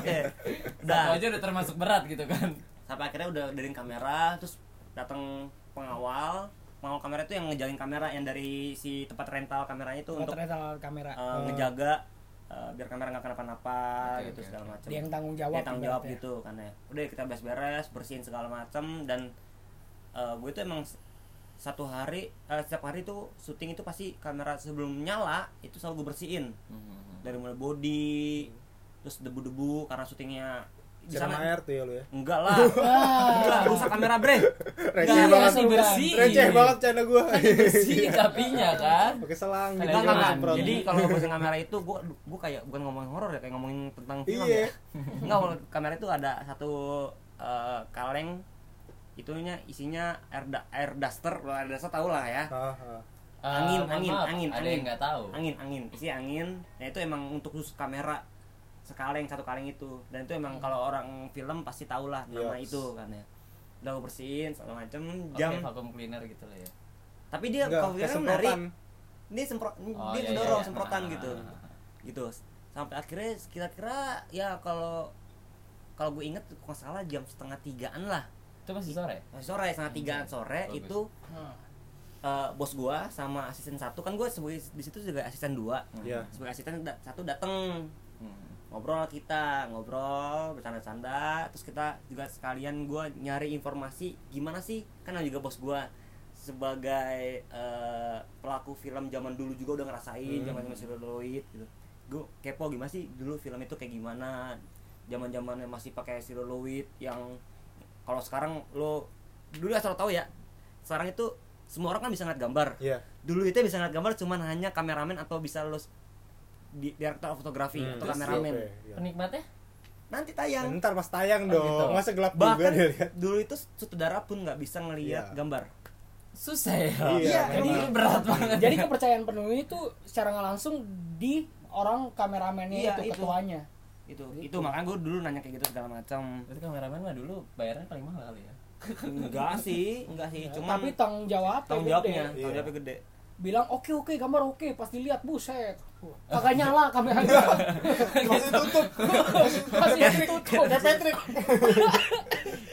Speaker 5: oke
Speaker 4: Satu
Speaker 5: dah
Speaker 4: aja udah termasuk berat gitu kan.
Speaker 5: sampai akhirnya udah dari kamera terus datang pengawal pengawal kamera itu yang ngejalin kamera yang dari si tempat rental kameranya itu untuk
Speaker 3: ternyata kamera Oh.
Speaker 5: eh, ngejaga eh, biar kamera nggak kenapa-napa
Speaker 4: Oke,
Speaker 5: gitu
Speaker 4: oke,
Speaker 5: segala macam.
Speaker 3: dia yang tanggung jawab
Speaker 5: tanggung jawab
Speaker 3: ibaratnya.
Speaker 5: gitu kan ya. Udah kita beres-beres, bersihin segala macam dan eh, gue itu emang s- satu hari eh, setiap hari tuh syuting itu pasti kamera sebelum nyala itu selalu gue bersihin
Speaker 4: Hmm,
Speaker 5: dari mulai body terus debu-debu karena syutingnya di
Speaker 1: Siram
Speaker 5: sana
Speaker 1: air tuh ya lu ya.
Speaker 5: enggak lah enggak rusak kamera bre
Speaker 1: Receh
Speaker 4: Iya,
Speaker 1: banget.
Speaker 4: sih, bersihin.
Speaker 1: Receh banget canda gua.
Speaker 4: Bersihin tapinya kan.
Speaker 1: Pakai selang gitu.
Speaker 5: Enggak, enggak, enggak.
Speaker 1: Semprot.
Speaker 5: kan. Jadi kalau bosan kamera itu gua aduh, gua kayak bukan ngomongin horor ya, kayak ngomongin tentang film
Speaker 1: Iya.
Speaker 5: ya. Enggak, kalau kamera itu ada satu eh, kaleng itunya isinya air da- air duster, kalau air duster tau lah ya.
Speaker 1: Ah, ah.
Speaker 4: Eh,
Speaker 5: Angin,
Speaker 4: mohon
Speaker 5: angin,
Speaker 4: maaf,
Speaker 5: angin,
Speaker 4: Ada
Speaker 5: angin.
Speaker 4: yang nggak tahu.
Speaker 5: Angin, angin, isi angin. Nah, itu emang untuk khusus kamera sekaleng satu kaleng itu dan itu emang kalau orang film pasti tau lah nama
Speaker 1: Yes.
Speaker 5: itu kan ya udah gue bersihin segala macem
Speaker 4: Oke,
Speaker 5: jam
Speaker 4: vacuum cleaner gitu lah ya.
Speaker 5: tapi dia
Speaker 1: Enggak,
Speaker 5: kalau dia kan menarik
Speaker 1: kesemprotan.
Speaker 5: ini semprot
Speaker 4: Oh, iya,
Speaker 5: dia
Speaker 4: iya,
Speaker 5: dorong
Speaker 4: iya.
Speaker 5: semprotan
Speaker 4: Ah,
Speaker 5: gitu
Speaker 4: ah, ah,
Speaker 5: gitu sampai akhirnya kira-kira ya kalau kalau gue inget kalau nggak salah jam setengah tigaan lah
Speaker 4: ah. Itu masih sore.
Speaker 5: Masih sore setengah tigaan sore
Speaker 4: Bagus.
Speaker 5: itu
Speaker 3: Hmm.
Speaker 5: eh, bos gue sama asisten satu kan gue sebagai di situ sebagai asisten dua
Speaker 1: Iya.
Speaker 5: sebagai asisten da- satu dateng
Speaker 4: Hmm.
Speaker 5: ngobrol kita ngobrol bercanda-canda terus kita juga sekalian gue nyari informasi gimana sih kan juga bos gue sebagai eh, pelaku film zaman dulu juga udah ngerasain
Speaker 1: Hmm.
Speaker 5: zaman zaman celluloid gitu gue kepo gimana sih dulu film itu kayak gimana zaman zamannya masih pakai celluloid yang kalau sekarang lo dulu asal lo tahu ya sekarang itu semua orang kan bisa ngeliat gambar
Speaker 1: Iya.
Speaker 5: dulu itu bisa ngeliat gambar cuman hanya kameramen atau bisa lo s- di director of photography
Speaker 1: Hmm.
Speaker 5: atau
Speaker 1: Terus
Speaker 5: kameramen
Speaker 1: Oke, iya.
Speaker 4: Penikmatnya?
Speaker 5: nanti tayang
Speaker 1: Ntar pas tayang
Speaker 4: Oh,
Speaker 1: dong.
Speaker 4: gitu.
Speaker 1: Masa gelap juga
Speaker 5: Iya. bahkan
Speaker 1: dia lihat.
Speaker 5: dulu itu sutradara pun nggak bisa ngelihat
Speaker 1: Iya.
Speaker 5: gambar
Speaker 4: Susah ya.
Speaker 1: Iya,
Speaker 4: Jadi
Speaker 1: memang.
Speaker 4: berat banget.
Speaker 3: Ah. jadi kepercayaan penuh itu secara nggak langsung di orang kameramennya
Speaker 5: Iya,
Speaker 3: itu,
Speaker 5: itu.
Speaker 3: ketuanya
Speaker 5: itu itu makanya gue dulu nanya kayak gitu segala macam
Speaker 4: Berarti kameramen mah dulu bayarnya paling mahal kali ya.
Speaker 5: enggak sih enggak sih cuman
Speaker 3: tapi tanggung jawabnya
Speaker 5: tanggung
Speaker 3: gede.
Speaker 5: jawabnya
Speaker 1: Iya.
Speaker 5: tanggung jawabnya gede
Speaker 3: bilang oke oke gambar oke pas dilihat buset kagak nyala kameranya
Speaker 1: Masih tutup.
Speaker 3: masih ditutup
Speaker 1: Kayak Patrick.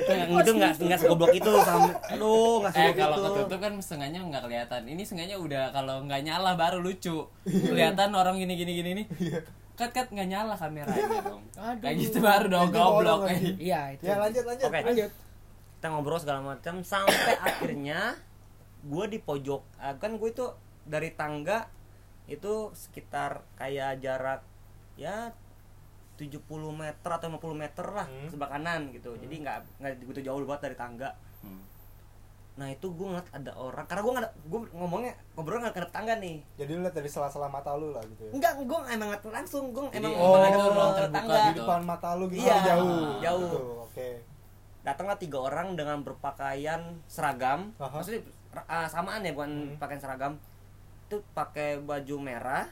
Speaker 5: yang itu nggak
Speaker 4: gitu.
Speaker 5: nggak segoblok itu sama aduh nggak
Speaker 4: Eh
Speaker 5: segoblok
Speaker 4: kalau
Speaker 5: itu
Speaker 4: ketutup kan setengahnya nggak kelihatan. Ini setengahnya udah kalau nggak nyala baru lucu. Kelihatan orang gini gini gini nih.
Speaker 1: Iya.
Speaker 4: Kat kat nggak nyala kameranya dong.
Speaker 3: Aduh.
Speaker 4: Kayak gitu baru dong
Speaker 1: Itu
Speaker 4: goblok.
Speaker 1: bolong lagi.
Speaker 3: iya itu
Speaker 1: Ya lanjut lanjut.
Speaker 5: Oke.
Speaker 3: lanjut
Speaker 5: kita ngobrol segala macam sampai akhirnya gue di pojok ah, kan gue itu dari tangga itu sekitar kayak jarak ya 70 meter atau 50 meter lah
Speaker 1: Hmm.
Speaker 5: ke sebelah kanan gitu jadi nggak nggak begitu jauh banget dari tangga
Speaker 4: Hmm.
Speaker 5: nah itu gue ngeliat ada orang karena gue nggak gue ngomongnya ngobrol nggak ke tangga nih
Speaker 1: Jadi lu lihat dari sela-sela mata lu lah gitu ya.
Speaker 5: enggak gue emang ngeliat langsung gue
Speaker 4: Jadi,
Speaker 5: emang
Speaker 4: oh,
Speaker 5: ngeliat
Speaker 4: itu
Speaker 5: ke
Speaker 4: ruang terbuka
Speaker 5: tangga.
Speaker 4: gitu.
Speaker 1: Depan mata lu gitu
Speaker 5: Iya,
Speaker 1: oh, jauh.
Speaker 5: jauh.
Speaker 1: Gitu, Oke.
Speaker 5: datanglah tiga orang dengan berpakaian seragam
Speaker 1: Aha.
Speaker 5: maksudnya ra- ah, samaan ya
Speaker 1: Hmm.
Speaker 5: bukan pakaian seragam itu pakai baju merah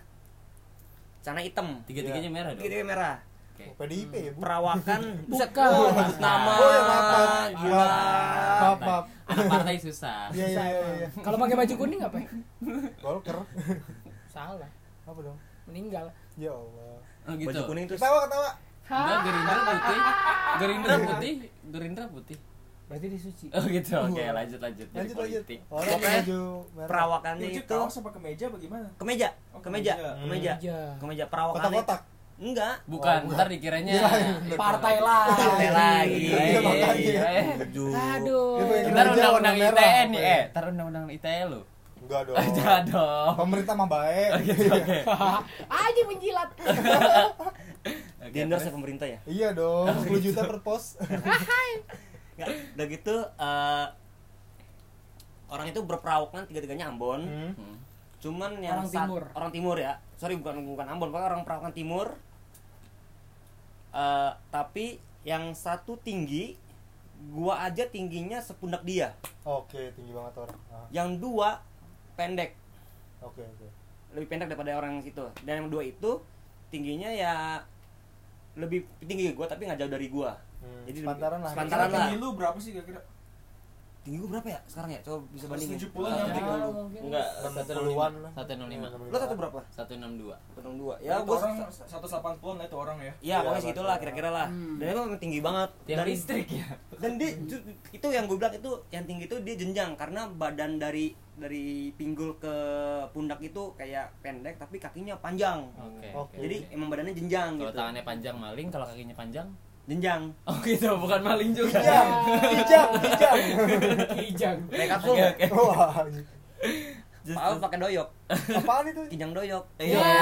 Speaker 5: Sana hitam.
Speaker 4: tiga tiganya merah dong
Speaker 5: Tiga-tiga merah.
Speaker 4: oke
Speaker 1: PDIP ya bu
Speaker 5: Perawakan. Buset,
Speaker 3: Bukan.
Speaker 5: oh, harus nama.
Speaker 1: Oh, ya, maaf, maaf.
Speaker 5: Gila.
Speaker 1: Maaf, maaf.
Speaker 4: anak partai susah
Speaker 1: iya iya iya iya
Speaker 3: Kalau pakai baju kuning apa? ya?
Speaker 1: golker
Speaker 3: Salah.
Speaker 1: apa dong
Speaker 3: Meninggal.
Speaker 1: ya allah
Speaker 4: oh, gitu
Speaker 5: Baju kuning terus
Speaker 1: ketawa ketawa
Speaker 4: Enggak, Gerindra putih Gerindra putih Gerindra putih
Speaker 3: Berarti disuci.
Speaker 4: oh gitu oke lanjut lanjut Jadi
Speaker 1: lanjut lanjut
Speaker 4: politik.
Speaker 1: orang
Speaker 5: Pokoknya
Speaker 1: baju merah.
Speaker 5: perawakannya
Speaker 2: Itu
Speaker 5: itu
Speaker 2: kaos apa kemeja bagaimana?
Speaker 5: kemeja,
Speaker 2: Oh,
Speaker 5: kemeja,
Speaker 2: kemeja.
Speaker 5: kemeja,
Speaker 3: Iya.
Speaker 5: kemeja perawakannya.
Speaker 1: kotak-kotak
Speaker 5: Enggak.
Speaker 4: bukan ntar dikiranya
Speaker 3: Partai lah.
Speaker 5: Partai lagi.
Speaker 1: Iya, makanya.
Speaker 5: Setuju.
Speaker 3: Aduh.
Speaker 1: Itu yang
Speaker 4: Ntar
Speaker 1: Gerindra
Speaker 4: undang-undang
Speaker 1: warna merah, Oh.
Speaker 4: ITE nih,
Speaker 1: pokoknya.
Speaker 4: eh, ntar undang-undang ITE lu.
Speaker 1: enggak dong
Speaker 4: Aja dong.
Speaker 1: pemerintah mah baik
Speaker 4: Oke, oke.
Speaker 3: Aja menjilat.
Speaker 4: Oke,
Speaker 5: Di endorse
Speaker 4: terus.
Speaker 5: sama pemerintah ya.
Speaker 1: iya dong 10 juta per pos
Speaker 5: Enggak. Udah gitu eh, orang itu berperawakan tiga-tiganya Ambon.
Speaker 1: Hmm.
Speaker 4: Hmm.
Speaker 5: Cuman yang
Speaker 3: Orang
Speaker 5: sat-
Speaker 3: timur.
Speaker 5: orang timur ya. Sorry bukan bukan Ambon, pokoknya orang perawakan timur. Eh, tapi yang satu tinggi gua aja tingginya sepundak dia.
Speaker 1: oke tinggi banget orang Ah,
Speaker 5: Yang dua pendek,
Speaker 1: oke oke
Speaker 5: lebih pendek daripada orang yang situ. Dan yang dua itu tingginya ya lebih tinggi gua tapi nggak jauh dari gua.
Speaker 1: Hmm,
Speaker 5: Jadi
Speaker 1: sepantaran lah.
Speaker 5: sepantaran lah.
Speaker 2: Tinggi lu berapa sih kira-kira?
Speaker 5: Tinggi gua berapa ya sekarang ya? Coba bisa bandingin.
Speaker 2: 170
Speaker 4: Ya,
Speaker 2: nyampe nggak lu?
Speaker 4: Enggak,
Speaker 1: 60-an lah. Iya,
Speaker 4: 165.
Speaker 5: Lo satu berapa?
Speaker 4: 162.
Speaker 5: Potong dua.
Speaker 2: Ya,
Speaker 5: Ya
Speaker 2: gua
Speaker 5: gua
Speaker 2: orang 180-an lah itu orang ya.
Speaker 5: Iya,
Speaker 1: Iya,
Speaker 5: pokoknya segitulah
Speaker 1: bakal.
Speaker 5: kira-kira lah.
Speaker 3: Hmm.
Speaker 5: Dan emang tinggi banget.
Speaker 4: Tiang
Speaker 5: dan
Speaker 4: listrik ya.
Speaker 5: Dan dia ju- itu yang gue bilang itu yang tinggi itu dia jenjang karena badan dari dari pinggul ke pundak itu kayak pendek tapi kakinya panjang.
Speaker 4: Hmm. Oke.
Speaker 1: Oke.
Speaker 5: Jadi emang badannya jenjang
Speaker 4: kalau
Speaker 5: gitu.
Speaker 4: tangannya panjang maling, kalau kakinya panjang
Speaker 5: Jenjang.
Speaker 4: Oh gitu, bukan maling juga.
Speaker 1: Kijang, kijang, kijang.
Speaker 3: Kijang.
Speaker 5: Mereka full.
Speaker 1: Wah,
Speaker 5: Paul pakai doyok.
Speaker 1: apaan itu?
Speaker 5: Kijang doyok.
Speaker 4: Iya.
Speaker 3: Ya.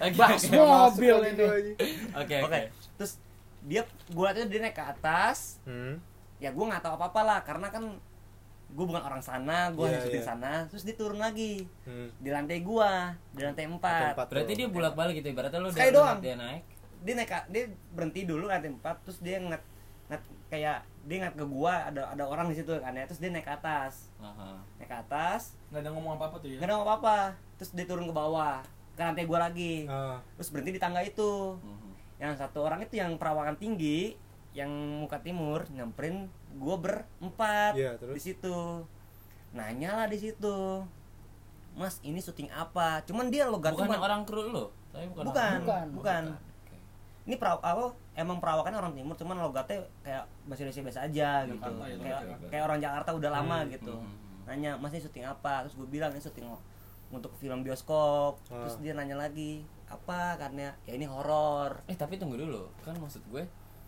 Speaker 4: Oke.
Speaker 1: Nggak
Speaker 3: Bas
Speaker 4: oke.
Speaker 1: masuk
Speaker 3: mobil
Speaker 1: kali
Speaker 3: ini.
Speaker 1: gua ini.
Speaker 4: Oke,
Speaker 5: Oke.
Speaker 4: oke.
Speaker 5: Terus dia gua liatnya dia naik ke atas.
Speaker 1: Hmm,
Speaker 5: Ya gue nggak tahu apa-apa lah karena kan gue bukan orang sana, gue
Speaker 1: Iya,
Speaker 5: hanya syuting
Speaker 1: iya.
Speaker 5: sana. Terus dia turun lagi
Speaker 1: Hmm.
Speaker 5: di lantai gua, di lantai empat.
Speaker 1: Tempat
Speaker 4: Berarti
Speaker 1: tuh.
Speaker 4: dia bolak-balik gitu ibaratnya lu
Speaker 5: Sekali
Speaker 4: udah-
Speaker 5: doang.
Speaker 4: dia naik.
Speaker 5: dia naik ka- dia berhenti dulu lantai empat terus dia ngeliat ngeliat kayak dia ngeliat ke gua ada ada orang di situ kan ya terus dia naik ke atas
Speaker 4: Aha.
Speaker 5: naik ke atas
Speaker 2: Enggak ada ngomong apa-apa
Speaker 4: Iya.
Speaker 2: tuh ya.
Speaker 5: nggak ada apa apa terus dia turun ke bawah ke lantai gua lagi
Speaker 1: Ah,
Speaker 5: terus berhenti di tangga itu
Speaker 4: Mhm.
Speaker 5: yang satu orang itu yang perawakan tinggi yang muka timur nyamperin gua berempat
Speaker 1: Iya, terus?
Speaker 5: di situ nanya lah di situ mas ini syuting apa cuman dia lo
Speaker 4: Bukan
Speaker 5: gantung
Speaker 4: orang kru lu, tapi bukan. orang kru.
Speaker 5: bukan, bukan.
Speaker 3: Bukan.
Speaker 5: bukan.
Speaker 4: Oke.
Speaker 5: ini peraw apa emang perawakan orang timur cuman logatnya kayak bahasa Indonesia biasa aja
Speaker 4: Iya, kan,
Speaker 5: gitu
Speaker 2: Jakarta ya,
Speaker 5: kayak
Speaker 4: Jakarta.
Speaker 5: kayak orang Jakarta udah lama gitu
Speaker 4: hmm, hmm.
Speaker 5: nanya mas ini syuting apa terus gue bilang ini syuting untuk film bioskop terus
Speaker 1: Ah.
Speaker 5: dia nanya lagi apa karena ya ini horor
Speaker 4: Eh tapi tunggu dulu, kan maksud gue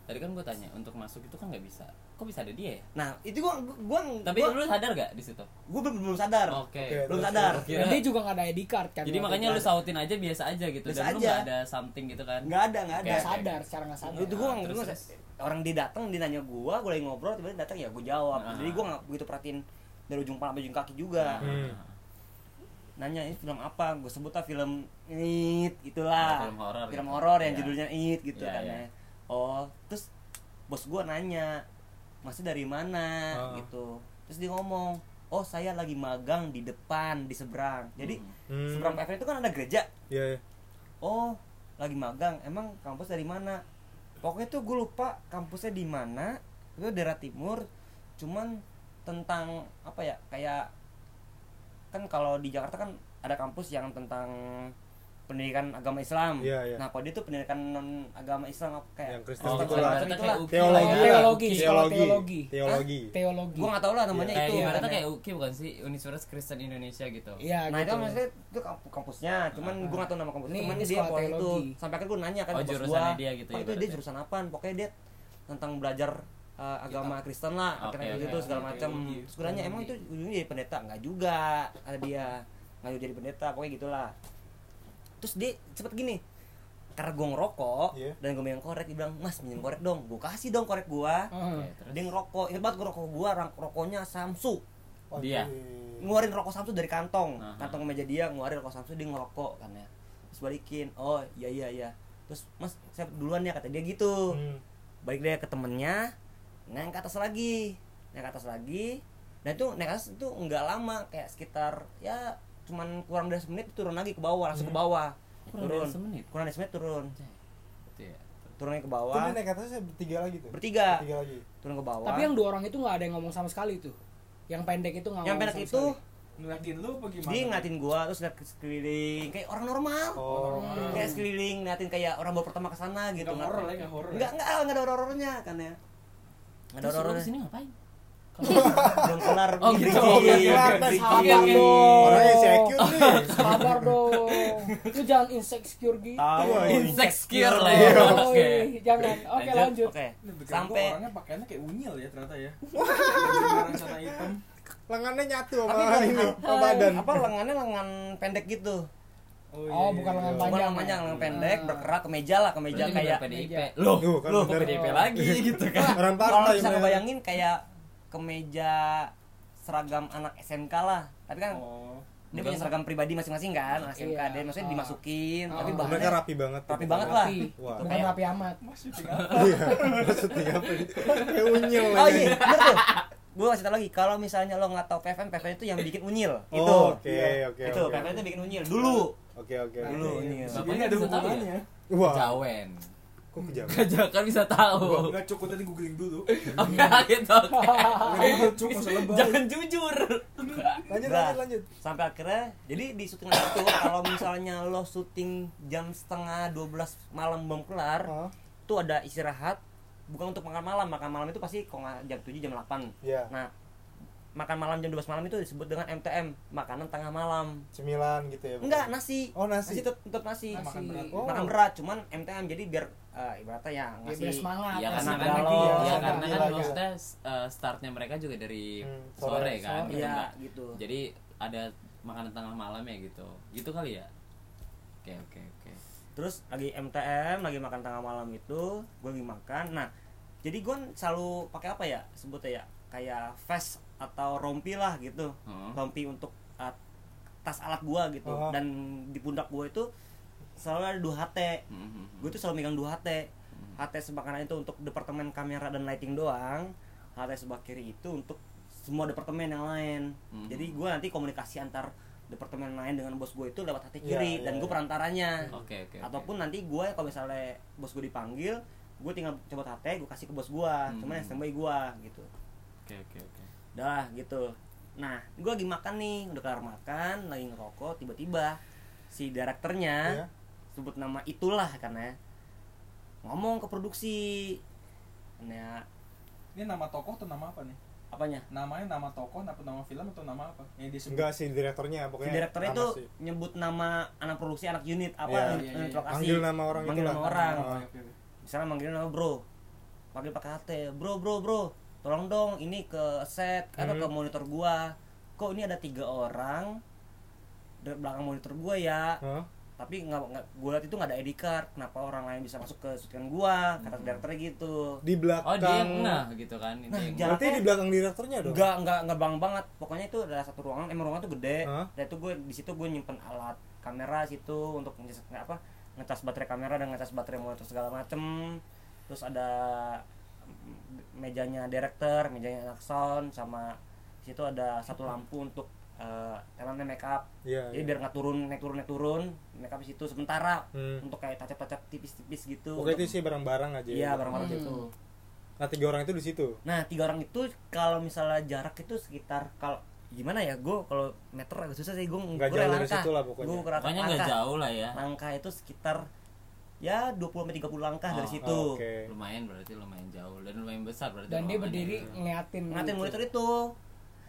Speaker 4: tadi kan gue tanya untuk masuk itu kan nggak bisa. Kok bisa ada dia ya?
Speaker 5: nah itu gue gue
Speaker 4: Tapi lu sadar gak di situ?
Speaker 5: gue belum belum sadar
Speaker 4: Oke.
Speaker 1: Oke.
Speaker 5: belum
Speaker 1: Terus,
Speaker 5: sadar
Speaker 4: terus.
Speaker 3: Dan dia juga nggak ada ID card kan.
Speaker 4: Jadi makanya lu sautin aja biasa aja gitu
Speaker 5: Biasa
Speaker 4: dan lu
Speaker 5: aja.
Speaker 4: nggak ada something gitu kan?
Speaker 5: nggak ada nggak ada
Speaker 3: nggak sadar, secara nggak sadar.
Speaker 5: itu gue
Speaker 4: Ah, Terus,
Speaker 5: gue
Speaker 4: terus.
Speaker 5: orang dia datang dia nanya gue gue lagi ngobrol tiba-tiba datang ya gue jawab
Speaker 4: Nah.
Speaker 5: jadi gue nggak begitu perhatiin dari ujung kepala sampai ujung kaki
Speaker 4: Ah.
Speaker 5: juga
Speaker 1: Hmm.
Speaker 5: nanya ini film apa gue sebut lah film it
Speaker 4: Ah,
Speaker 5: itulah
Speaker 4: film horor
Speaker 5: film
Speaker 4: gitu.
Speaker 5: horor yang
Speaker 4: Iya.
Speaker 5: judulnya it gitu
Speaker 4: Iya,
Speaker 5: kan
Speaker 4: iya.
Speaker 5: ya. oh terus bos gue nanya masih dari mana
Speaker 1: Ah.
Speaker 5: gitu terus dia ngomong oh saya lagi magang di depan di seberang jadi
Speaker 1: Hmm.
Speaker 5: seberang PFN itu kan ada gereja
Speaker 1: Iya, iya.
Speaker 5: oh lagi magang emang kampus dari mana pokoknya tuh gue lupa kampusnya di mana itu daerah timur cuman tentang apa ya kayak kan kalau di Jakarta kan ada kampus yang tentang pendidikan agama Islam.
Speaker 1: Iya, iya.
Speaker 5: Nah, kalau dia tuh pendidikan non agama Islam apa kayak Oh,
Speaker 1: Yang Kristen
Speaker 5: Kristen
Speaker 1: gitu
Speaker 5: Islam
Speaker 1: lah.
Speaker 5: itulah.
Speaker 4: oh, Kayak UKI.
Speaker 1: Teologi, lah.
Speaker 3: Teologi, sekolah
Speaker 1: teologi,
Speaker 3: teologi.
Speaker 1: teologi.
Speaker 3: Teologi.
Speaker 5: Gua nggak tahu lah namanya
Speaker 4: Iya, Kayak
Speaker 5: itu.
Speaker 4: ibaratnya
Speaker 5: kan ya.
Speaker 4: kayak UKI bukan sih Universitas Kristen Indonesia gitu.
Speaker 3: Iya.
Speaker 5: Nah, itu
Speaker 3: gitu.
Speaker 5: maksudnya itu kamp- kampusnya, cuman
Speaker 4: Ah.
Speaker 5: gue gak tau nama kampusnya,
Speaker 3: Ini-
Speaker 5: cuman
Speaker 3: ini
Speaker 5: dia
Speaker 3: sekolah
Speaker 5: pokoknya itu
Speaker 3: teologi.
Speaker 5: sampai akhirnya gue nanya kan
Speaker 4: Oh,
Speaker 5: ke bos
Speaker 4: jurusannya
Speaker 5: gua,
Speaker 4: dia gitu
Speaker 5: "Pak,
Speaker 4: ya,
Speaker 5: itu dia
Speaker 4: ibaratnya."
Speaker 5: jurusan apaan, pokoknya dia tentang belajar uh, agama Kristen lah,
Speaker 4: Oke,
Speaker 5: akhirnya
Speaker 4: oke,
Speaker 5: gitu
Speaker 4: oke,
Speaker 5: segala
Speaker 2: oke,
Speaker 5: macam.
Speaker 2: oke.
Speaker 5: Terus gue nanya, emang itu ujungnya jadi pendeta? Enggak juga, ada dia nggak jadi pendeta, pokoknya gitulah. Terus dia cepet gini, karena gue ngerokok
Speaker 1: Iya.
Speaker 5: dan gue megang korek, dia bilang, mas minjem korek dong, gue kasih dong korek gue.
Speaker 3: Heeh.
Speaker 4: Oke, terus.
Speaker 5: Hmm. Dia ngerokok, ingat banget gue rokok gue, rokoknya Samsung
Speaker 1: Oke.
Speaker 4: Dia.
Speaker 5: ngeluarin rokok Samsu dari kantong
Speaker 4: Aha.
Speaker 5: kantong meja dia ngeluarin rokok Samsu dia ngerokok kan ya terus balikin oh iya iya iya terus mas saya duluan ya kata dia gitu
Speaker 1: Hmm.
Speaker 5: balik dia ke temennya naik ke atas lagi naik ke atas lagi nah itu naik ke atas itu
Speaker 3: Hmm.
Speaker 5: nggak lama kayak sekitar ya cuman kurang dari semenit turun lagi ke bawah langsung ke bawah
Speaker 4: kurang
Speaker 5: turun
Speaker 4: dari semenit
Speaker 5: kurang dari semenit turun
Speaker 4: Gitu ya.
Speaker 5: turunnya
Speaker 1: Itu
Speaker 5: ke
Speaker 1: dia
Speaker 5: bawah
Speaker 1: naik ke atasnya bertiga lagi tuh.
Speaker 5: bertiga
Speaker 1: Bertiga lagi.
Speaker 5: turun ke bawah
Speaker 3: Tapi yang dua orang itu nggak ada yang ngomong sama sekali tuh. Yang pendek itu nggak
Speaker 5: yang
Speaker 3: ngomong
Speaker 5: pendek
Speaker 3: sama
Speaker 5: itu
Speaker 3: sekali.
Speaker 2: Ngeliatin lu apa gimana?
Speaker 5: dia ngeliatin gua terus lihat ke sekeliling kayak orang normal
Speaker 1: Oh.
Speaker 2: Hmm.
Speaker 5: kayak sekeliling ngeliatin kayak orang baru pertama ke sana gitu
Speaker 2: Nggak horor lah, nggak horor.
Speaker 5: nggak nggak nggak ada horor-horornya kan ya nggak ada
Speaker 4: Terus orang
Speaker 5: horornya
Speaker 4: sini ngapain?
Speaker 5: belum kelar
Speaker 4: Oh, gitu.
Speaker 5: Bridging.
Speaker 4: Oh, belum
Speaker 1: kelar.
Speaker 5: Bridging.
Speaker 3: Sabar dong.
Speaker 1: Orangnya si EQ nih.
Speaker 3: Sabar dong. Lu jangan insecure gitu.
Speaker 5: Tahu.
Speaker 4: Insecure
Speaker 1: Iya.
Speaker 4: lah ya. Oke.
Speaker 3: Yoi, jangan. Oke,
Speaker 4: Lanjut.
Speaker 3: lanjut.
Speaker 5: Oke.
Speaker 2: Ini pikiran gua
Speaker 5: Sampai
Speaker 2: orangnya pakaiannya kayak unyil ya ternyata ya. Orang sana hitam.
Speaker 1: Lengannya nyatu
Speaker 5: Tapi
Speaker 1: sama ini,
Speaker 5: lengan-
Speaker 1: sama badan.
Speaker 5: apa lengannya lengan pendek gitu.
Speaker 2: iya,
Speaker 3: Oh, bukan
Speaker 1: Bukan
Speaker 3: lengan
Speaker 5: Bukan
Speaker 3: panjang.
Speaker 5: lengan panjang,
Speaker 3: ya?
Speaker 5: lengan pendek,
Speaker 3: Ah.
Speaker 5: berkerak ke meja lah, ke meja
Speaker 4: Berarti
Speaker 5: kayak
Speaker 4: bukan PDIP.
Speaker 3: meja.
Speaker 4: Loh,
Speaker 1: Duh, kan
Speaker 5: Loh,
Speaker 1: bener.
Speaker 4: PDIP lagi gitu kan.
Speaker 1: Orang
Speaker 5: Kalau
Speaker 1: partai.
Speaker 5: bisa
Speaker 1: bener.
Speaker 5: kebayangin kayak ke meja seragam anak SMK lah. Tapi kan
Speaker 2: Oh.
Speaker 5: dia
Speaker 4: Bukan
Speaker 5: punya seragam pribadi masing-masing kan, anak SMK
Speaker 3: Iya.
Speaker 5: dia maksudnya
Speaker 3: Ah.
Speaker 5: dimasukin,
Speaker 3: Ah.
Speaker 5: tapi
Speaker 1: Mereka
Speaker 5: bahannya
Speaker 1: rapi banget.
Speaker 5: ya? rapi
Speaker 1: gitu.
Speaker 5: banget lah.
Speaker 3: Rapi.
Speaker 1: Wah.
Speaker 3: Bukan rapi amat.
Speaker 2: Masih tinggal.
Speaker 1: Iya. Maksudnya apa ini? Kayak unyil.
Speaker 5: Oh
Speaker 1: aja.
Speaker 5: iya, bener tuh. Gue kasih tau lagi, kalau misalnya lo nggak tau PFM, PFM itu yang bikin unyil
Speaker 1: Oh,
Speaker 5: gitu.
Speaker 1: oke,
Speaker 3: Iya.
Speaker 1: oke,
Speaker 5: Itu
Speaker 1: oke.
Speaker 5: PFM itu bikin unyil dulu.
Speaker 1: Oke oke.
Speaker 5: Dulu.
Speaker 1: oke.
Speaker 5: ini.
Speaker 2: Bapaknya ada
Speaker 4: Bisa tahu ya?
Speaker 2: hubungannya.
Speaker 1: Wah.
Speaker 4: Kejawen.
Speaker 1: Kok kejauhan?
Speaker 4: Kejawen kan bisa tahu.
Speaker 2: Enggak cukup tadi googling dulu.
Speaker 4: Oke, gitu. oke.
Speaker 5: Nah.
Speaker 2: Enggak cukup masa lebay.
Speaker 4: Jangan jujur.
Speaker 1: Lanjut
Speaker 5: Nah,
Speaker 1: lanjut lanjut.
Speaker 5: sampai akhirnya jadi di syuting itu kalau misalnya lo syuting jam setengah 12 malam belum kelar
Speaker 1: Oh,
Speaker 5: tuh ada istirahat bukan untuk makan malam makan malam itu pasti kalau nggak jam 7 jam 8
Speaker 1: Iya.
Speaker 5: nah makan malam jam 12 malam itu disebut dengan MTM makanan tengah malam
Speaker 1: Cemilan gitu ya. bukan?
Speaker 5: enggak nasi
Speaker 1: Oh, nasi.
Speaker 5: tet- tetap nasi
Speaker 3: Nasi.
Speaker 5: makan berat
Speaker 1: Oh.
Speaker 5: makan berat cuman MTM jadi biar eh, ibaratnya ya
Speaker 3: Ya,
Speaker 5: ngasih
Speaker 3: biar semangat.
Speaker 4: Ya karena
Speaker 5: Atas
Speaker 4: kan
Speaker 5: segala-
Speaker 4: ya
Speaker 5: segala
Speaker 4: karena kan
Speaker 1: gila,
Speaker 4: maksudnya eh, startnya mereka juga dari
Speaker 1: Hmm, sore,
Speaker 4: sore kan
Speaker 3: sore.
Speaker 4: gitu
Speaker 5: Iya,
Speaker 4: Mbak.
Speaker 5: gitu.
Speaker 4: Jadi ada makanan tengah malam ya gitu. Gitu kali ya. Oke oke oke.
Speaker 5: terus lagi MTM lagi makan tengah malam itu gue lagi makan nah jadi gue selalu pakai apa ya sebutnya ya kayak vest atau rompi lah gitu
Speaker 4: Hmm.
Speaker 5: rompi untuk uh, tas alat gue gitu
Speaker 1: Oh.
Speaker 5: dan di pundak gue itu selalu ada dua HT
Speaker 4: Hmm, hmm, hmm.
Speaker 5: gue tuh selalu megang dua HT HT sebelah kanan itu untuk departemen kamera dan lighting doang HT sebelah kiri itu untuk semua departemen yang lain
Speaker 4: Hmm.
Speaker 5: jadi gue nanti komunikasi antar departemen lain dengan bos gue itu lewat
Speaker 1: Iya,
Speaker 5: HT kiri
Speaker 1: iya,
Speaker 5: dan gue
Speaker 1: iya.
Speaker 5: perantaranya
Speaker 4: Oke oke. oke.
Speaker 5: ataupun nanti gue kalau misalnya bos gue dipanggil gue tinggal coba HT gue kasih ke bos gue
Speaker 4: Hmm.
Speaker 5: cuman yang standby gue gitu
Speaker 4: Oke oke oke.
Speaker 5: udah lah, gitu nah gue lagi makan nih udah kelar makan lagi ngerokok tiba-tiba si
Speaker 1: Iya.
Speaker 5: direkturnya sebut nama itulah karena ngomong ke produksi nah
Speaker 2: Ini nama tokoh atau nama apa nih?
Speaker 5: apanya
Speaker 2: Namanya nama tokoh, apa nama film atau nama apa? Yang disebut.
Speaker 1: Enggak sih direkturnya
Speaker 5: si
Speaker 1: pokoknya.
Speaker 5: direkturnya
Speaker 1: nama
Speaker 5: itu
Speaker 1: sih.
Speaker 5: nyebut nama anak produksi anak unit apa
Speaker 1: Iya.
Speaker 5: unit,
Speaker 2: Iya,
Speaker 5: unit
Speaker 2: iya, iya.
Speaker 5: lokasi
Speaker 1: Manggil nama orang
Speaker 5: manggil
Speaker 1: itulah.
Speaker 5: nama orang
Speaker 1: Oh.
Speaker 2: Oke, oke, oke.
Speaker 5: misalnya manggil nama bro panggil pakai HT bro bro bro tolong dong ini ke set atau
Speaker 1: Hmm.
Speaker 5: ke monitor gua kok ini ada tiga orang di belakang monitor gua ya
Speaker 1: Hah?
Speaker 5: tapi nggak nggak gue lihat itu nggak ada ID card kenapa orang lain bisa masuk ke syutingan gua
Speaker 1: Hmm.
Speaker 5: kata direkturnya gitu
Speaker 1: Di belakang.
Speaker 4: Oh dia yang nah gitu kan ini
Speaker 5: Nah,
Speaker 4: yang
Speaker 5: jangan-
Speaker 1: Berarti di belakang direkturnya dong.
Speaker 5: nggak nggak nggak bang banget pokoknya itu ada satu ruangan emang ruangan tuh gede
Speaker 1: Hah?
Speaker 5: dan itu gue di situ gue nyimpen alat kamera situ untuk ngecas nggak apa ngecas baterai kamera dan ngecas baterai motor segala macem terus ada mm, mejanya director mejanya anak sound sama di situ ada satu lampu untuk eh elemen makeup
Speaker 1: Iya. iya.
Speaker 5: jadi biar nggak turun naik turun naik turun makeup di situ sementara
Speaker 1: Hmm.
Speaker 5: untuk kayak tacat-tacat tipis-tipis gitu
Speaker 1: Oke itu
Speaker 5: Untuk-
Speaker 1: sih barang-barang aja. ya,
Speaker 5: iya barang-barang
Speaker 3: Hmm.
Speaker 5: gitu
Speaker 1: Nah tiga orang itu di situ.
Speaker 5: Nah tiga orang itu kalau misalnya jarak itu sekitar kalau gimana ya gue kalau meter agak susah sih gue
Speaker 1: Nggak jauh dari situ lah pokoknya.
Speaker 5: gue kerangka
Speaker 4: Pokoknya nggak
Speaker 5: langkah.
Speaker 4: jauh lah ya.
Speaker 5: langkah itu sekitar ya 20 sampai 30 langkah dari
Speaker 4: Oh,
Speaker 5: situ
Speaker 1: Oh, Oke.
Speaker 4: Lumayan berarti lumayan jauh dan lumayan besar berarti.
Speaker 3: Dan dia
Speaker 4: ruangannya.
Speaker 3: berdiri ngeliatin.
Speaker 5: ngatin
Speaker 3: gitu.
Speaker 5: monitor itu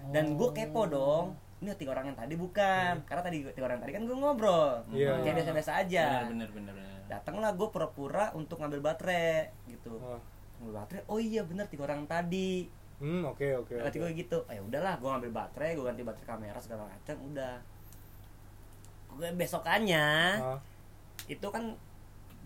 Speaker 5: dan
Speaker 4: Oh.
Speaker 5: gue kepo dong ini tiga orang yang
Speaker 4: Iya.
Speaker 5: tadi bukan karena tadi tiga orang yang tadi kan gue ngobrol
Speaker 1: Iya.
Speaker 5: kayak biasa-biasa aja
Speaker 4: Benar benar benar. benar.
Speaker 5: datanglah gue pura-pura untuk ngambil baterai gitu
Speaker 1: Oh.
Speaker 5: ngambil baterai oh iya bener tiga orang tadi
Speaker 1: Hmm oke oke.
Speaker 2: Iya,
Speaker 5: Kata
Speaker 1: oke.
Speaker 5: gue gitu, ah, ya udahlah, gue ngambil baterai, gue ganti baterai kamera segala macam, udah. Gue besokannya
Speaker 1: Ah,
Speaker 5: itu kan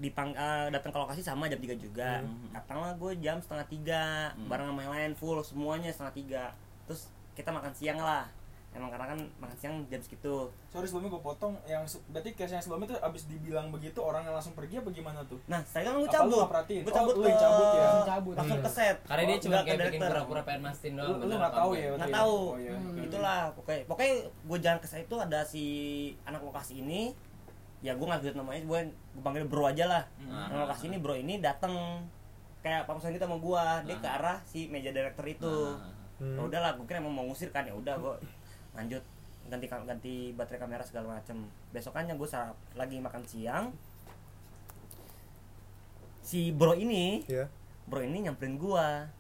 Speaker 5: dipang eh, datang ke lokasi sama jam 3 juga.
Speaker 4: Hmm.
Speaker 5: Datanglah gue jam setengah tiga,
Speaker 4: Hmm.
Speaker 5: bareng sama yang lain full semuanya setengah tiga. Terus kita makan siang lah. Emang karena kan makan siang jam segitu.
Speaker 2: Sorry sebelumnya gue potong. Yang se- berarti case yang sebelumnya tuh abis dibilang begitu orang yang langsung pergi apa gimana tuh?
Speaker 5: Nah, saya kan gue
Speaker 2: Apa lu
Speaker 5: cabut.
Speaker 2: nggak perhatiin?
Speaker 5: Gue
Speaker 2: Oh,
Speaker 5: cabut,
Speaker 2: lu yang cabut ya.
Speaker 3: Langsung cabut.
Speaker 5: Langsung
Speaker 1: Hmm.
Speaker 5: ke set.
Speaker 4: Karena dia
Speaker 5: Oh,
Speaker 4: cuma
Speaker 5: nggak ke
Speaker 4: kayak bikin
Speaker 5: director.
Speaker 4: pura-pura pengen mastiin doang.
Speaker 2: Lu, lu
Speaker 4: bener
Speaker 2: nggak
Speaker 4: apa
Speaker 2: tahu
Speaker 4: enggak.
Speaker 2: ya?
Speaker 5: nggak
Speaker 2: berarti ya?
Speaker 5: tahu Hmm,
Speaker 2: Oh, iya.
Speaker 5: itulah pokoknya pokoknya gue jalan ke saya itu ada si anak lokasi ini ya gue nggak lihat namanya gue gue panggil bro aja lah
Speaker 2: Hmm.
Speaker 5: nah, lokasi ini bro ini datang kayak pamusan gitu sama gue dia ke arah si meja director itu
Speaker 1: Hmm.
Speaker 5: Ya udahlah gue kira emang mau ngusir kan ya udah gue lanjut ganti kam- ganti baterai kamera segala macem besokannya gue sarap lagi makan siang si bro ini
Speaker 1: Iya.
Speaker 5: bro ini nyamperin gua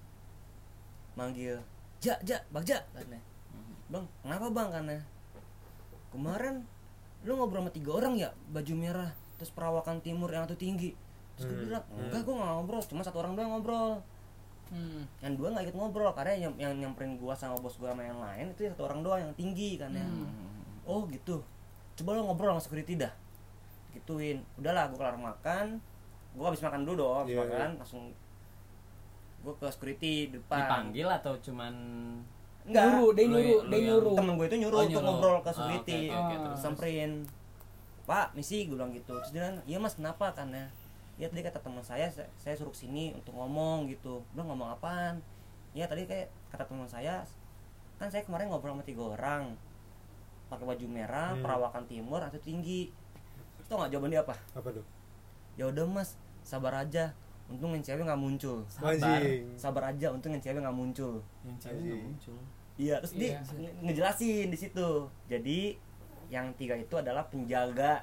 Speaker 5: manggil ja ja bang ja katanya bang kenapa bang karena kemarin lu ngobrol sama tiga orang ya baju merah terus perawakan timur yang satu tinggi terus gue
Speaker 1: Hmm,
Speaker 5: bilang enggak gue nggak ngobrol cuma satu orang doang ngobrol
Speaker 3: Hmm.
Speaker 5: yang dua nggak ikut ngobrol karena yang, yang nyamperin gua sama bos gua sama yang lain itu satu orang doang yang tinggi kan ya
Speaker 1: Hmm.
Speaker 4: Nah.
Speaker 5: oh gitu coba lo ngobrol sama security dah gituin udahlah gua kelar makan gua habis makan dulu dong habis
Speaker 1: Iya,
Speaker 5: makan langsung gua ke security di depan
Speaker 4: dipanggil atau cuman
Speaker 5: enggak
Speaker 3: Nyuruh, dia
Speaker 4: Lu- ya,
Speaker 3: nyuruh,
Speaker 4: lu
Speaker 3: dia
Speaker 4: yang-
Speaker 3: nyuruh.
Speaker 5: temen gue itu nyuruh
Speaker 4: Oh,
Speaker 5: untuk
Speaker 4: nyuruh.
Speaker 5: ngobrol ke
Speaker 4: Ah,
Speaker 5: security
Speaker 4: oke, oke,
Speaker 5: Terus
Speaker 4: terus.
Speaker 5: samperin pak misi gue bilang gitu terus dia bilang, iya mas kenapa karena ya tadi kata teman saya sa- saya suruh sini untuk ngomong gitu belum ngomong apaan ya tadi kayak kata teman saya kan saya kemarin ngobrol sama tiga orang pakai baju merah
Speaker 1: Hmm.
Speaker 5: perawakan timur atau tinggi itu nggak jawaban dia apa
Speaker 1: Apa tuh?
Speaker 5: ya udah mas sabar aja untung yang cewek nggak muncul
Speaker 1: Anjing.
Speaker 5: sabar aja untung yang cewek nggak muncul
Speaker 4: yang cewek nggak
Speaker 1: Anjing.
Speaker 4: muncul
Speaker 5: Iya, terus dia
Speaker 3: Iya.
Speaker 5: nge- ngejelasin di situ. Jadi yang tiga itu adalah penjaga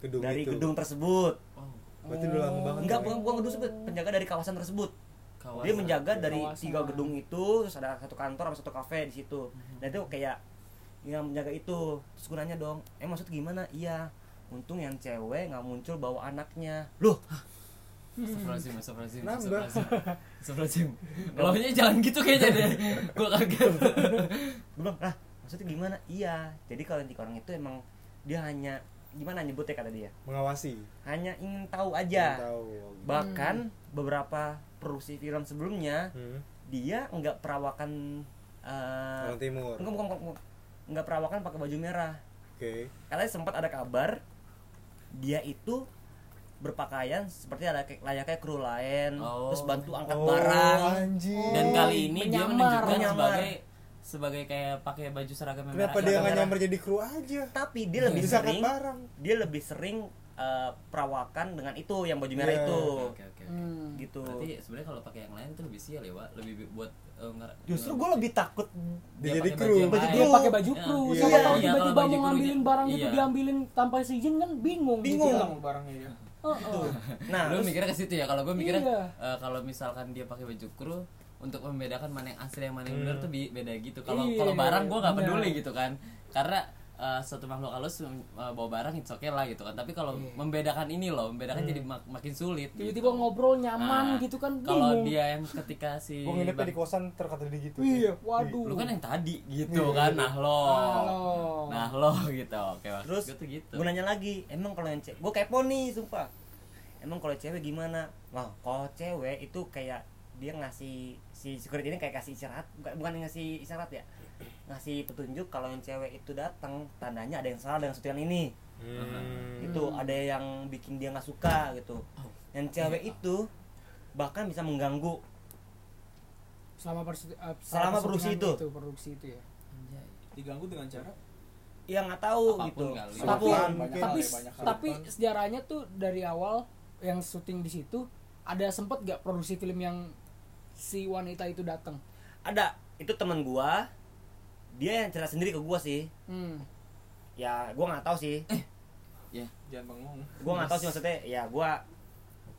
Speaker 1: Gedung
Speaker 5: dari
Speaker 1: itu.
Speaker 5: gedung tersebut.
Speaker 4: oh
Speaker 1: Berarti udah lama banget.
Speaker 5: Enggak,
Speaker 1: ya?
Speaker 5: bukan bukan gedung tersebut, penjaga dari kawasan tersebut.
Speaker 4: kawasan.
Speaker 5: Dia menjaga dari
Speaker 3: iya, Kawasan.
Speaker 5: tiga gedung itu, terus ada satu kantor sama satu kafe di situ.
Speaker 3: Mhm.
Speaker 5: Dan itu kayak yang menjaga itu. Terus gue nanya dong, "Eh maksud gimana?" Iya. Untung yang cewek nggak muncul bawa anaknya. Loh,
Speaker 4: Astagfirullahaladzim, astagfirullahaladzim,
Speaker 1: Nambah.
Speaker 4: astagfirullahaladzim Astagfirullahaladzim Lawannya jangan gitu kayaknya deh Gue kaget
Speaker 5: gue bilang, "Lah, maksudnya gimana?" Iya. Jadi kalau yang tiga orang itu emang dia hanya gimana nyebutnya kata dia?
Speaker 1: Mengawasi.
Speaker 5: Hanya ingin tahu aja.
Speaker 1: Belum Tahu.
Speaker 5: bahkan beberapa produksi film sebelumnya
Speaker 1: Hmm.
Speaker 5: dia nggak perawakan eh
Speaker 1: Orang timur.
Speaker 5: enggak, bukan, bukan, bukan. nggak perawakan pakai baju merah
Speaker 1: Oke.
Speaker 5: katanya sempat ada kabar dia itu berpakaian seperti ada kayak- layaknya kru lain
Speaker 4: Oh.
Speaker 5: terus bantu angkat
Speaker 1: Oh,
Speaker 5: barang
Speaker 1: Anjing.
Speaker 4: Dan kali ini dia
Speaker 3: Menyamar.
Speaker 4: menunjukkan
Speaker 5: Menyamar.
Speaker 4: sebagai Sebagai kayak pakai baju seragam yang
Speaker 1: Kenapa dia
Speaker 4: merah.
Speaker 5: Agak
Speaker 1: nggak
Speaker 5: merah.
Speaker 1: nyamper jadi kru aja?
Speaker 5: tapi dia lebih
Speaker 1: Bisa angkat
Speaker 5: sering
Speaker 1: barang.
Speaker 5: dia lebih sering eh, perawakan dengan itu yang baju merah
Speaker 1: Iya.
Speaker 5: itu
Speaker 4: Oke, oke, oke.
Speaker 3: Hmm.
Speaker 5: gitu
Speaker 4: Berarti sebenarnya kalau pakai yang lain tuh lebih sial ya, Wak. Lebih bi- buat eh, nge-
Speaker 5: justru
Speaker 4: nge-
Speaker 5: gue lebih takut
Speaker 1: Dia
Speaker 4: Dia
Speaker 1: jadi
Speaker 4: pakai
Speaker 1: kru.
Speaker 4: baju yang
Speaker 5: Baju
Speaker 4: lain.
Speaker 3: Dia pakai baju kru,
Speaker 1: Iya.
Speaker 3: siapa
Speaker 4: Iya,
Speaker 3: tahu
Speaker 4: kalau
Speaker 3: tiba-tiba
Speaker 4: baju
Speaker 3: mau
Speaker 4: kru
Speaker 3: ngambilin
Speaker 4: dia-
Speaker 3: barang gitu
Speaker 4: iya.
Speaker 3: diambilin tanpa izin kan bingung.
Speaker 5: Bingung.
Speaker 3: dibilang.
Speaker 2: hilang barangnya ya
Speaker 3: Heeh.
Speaker 5: nah
Speaker 4: lu
Speaker 5: terus-
Speaker 4: mikirnya ke situ ya kalau gue mikirnya
Speaker 3: Iya.
Speaker 4: eh, kalau misalkan dia pakai baju kru untuk membedakan mana yang asli yang mana yang
Speaker 5: Hmm.
Speaker 4: benar tuh bi- beda gitu kalau
Speaker 3: Iya,
Speaker 4: kalau barang gue nggak
Speaker 3: benar.
Speaker 4: peduli gitu kan karena eh, suatu makhluk halus mm, eh, bawa barang itu oke lah gitu kan tapi kalau membedakan ini loh membedakan jadi
Speaker 5: Hmm.
Speaker 4: mak- makin sulit
Speaker 3: Iya. Tiba-tiba ngobrol nyaman
Speaker 4: Nah,
Speaker 3: gitu kan bingung.
Speaker 4: kalau dia yang ketika si
Speaker 1: Gue nginepnya
Speaker 4: bang-
Speaker 1: di kosan terkata di gitu.
Speaker 3: Iya,
Speaker 4: lu
Speaker 3: waduh.
Speaker 4: kan yang tadi gitu
Speaker 5: Iya.
Speaker 4: kan nah lo
Speaker 3: Ah, lo.
Speaker 4: nah lo gitu oke maksud
Speaker 5: Terus
Speaker 4: gua tuh gitu
Speaker 5: gue nanya lagi, emang kalau yang cewek, gue kepo nih sumpah. Emang kalau cewek gimana? Wah, kalau cewek itu kayak dia ngasih si security ini kayak kasih istirahat, bukan, bukan ngasih isyarat ya, ngasih petunjuk kalau yang cewek itu datang tandanya ada yang salah dengan sutian ini,
Speaker 1: Hmm.
Speaker 5: gitu ada yang bikin dia nggak suka gitu.
Speaker 4: Oh, iya,
Speaker 5: Yang cewek itu bahkan bisa mengganggu.
Speaker 3: Selama persi- eh,
Speaker 5: Selama produksi
Speaker 3: persidangan
Speaker 5: itu.
Speaker 3: produksi itu ya.
Speaker 4: Anjay.
Speaker 2: diganggu dengan cara
Speaker 5: Ya nggak tahu
Speaker 4: Apapun
Speaker 5: gitu.
Speaker 4: kali.
Speaker 5: Apapun.
Speaker 1: Sultan,
Speaker 2: Banyak
Speaker 1: mungkin.
Speaker 3: tapi
Speaker 2: hal ya, banyak hal.
Speaker 3: tapi sejarahnya tuh dari awal yang syuting di situ ada sempet gak produksi film yang si wanita itu datang
Speaker 5: Ada itu teman gua, dia yang cerita sendiri ke gua sih.
Speaker 3: hmm.
Speaker 5: Ya, gua nggak tahu sih.
Speaker 4: ya
Speaker 2: jangan bengong
Speaker 5: gue nggak tahu sih maksudnya ya gue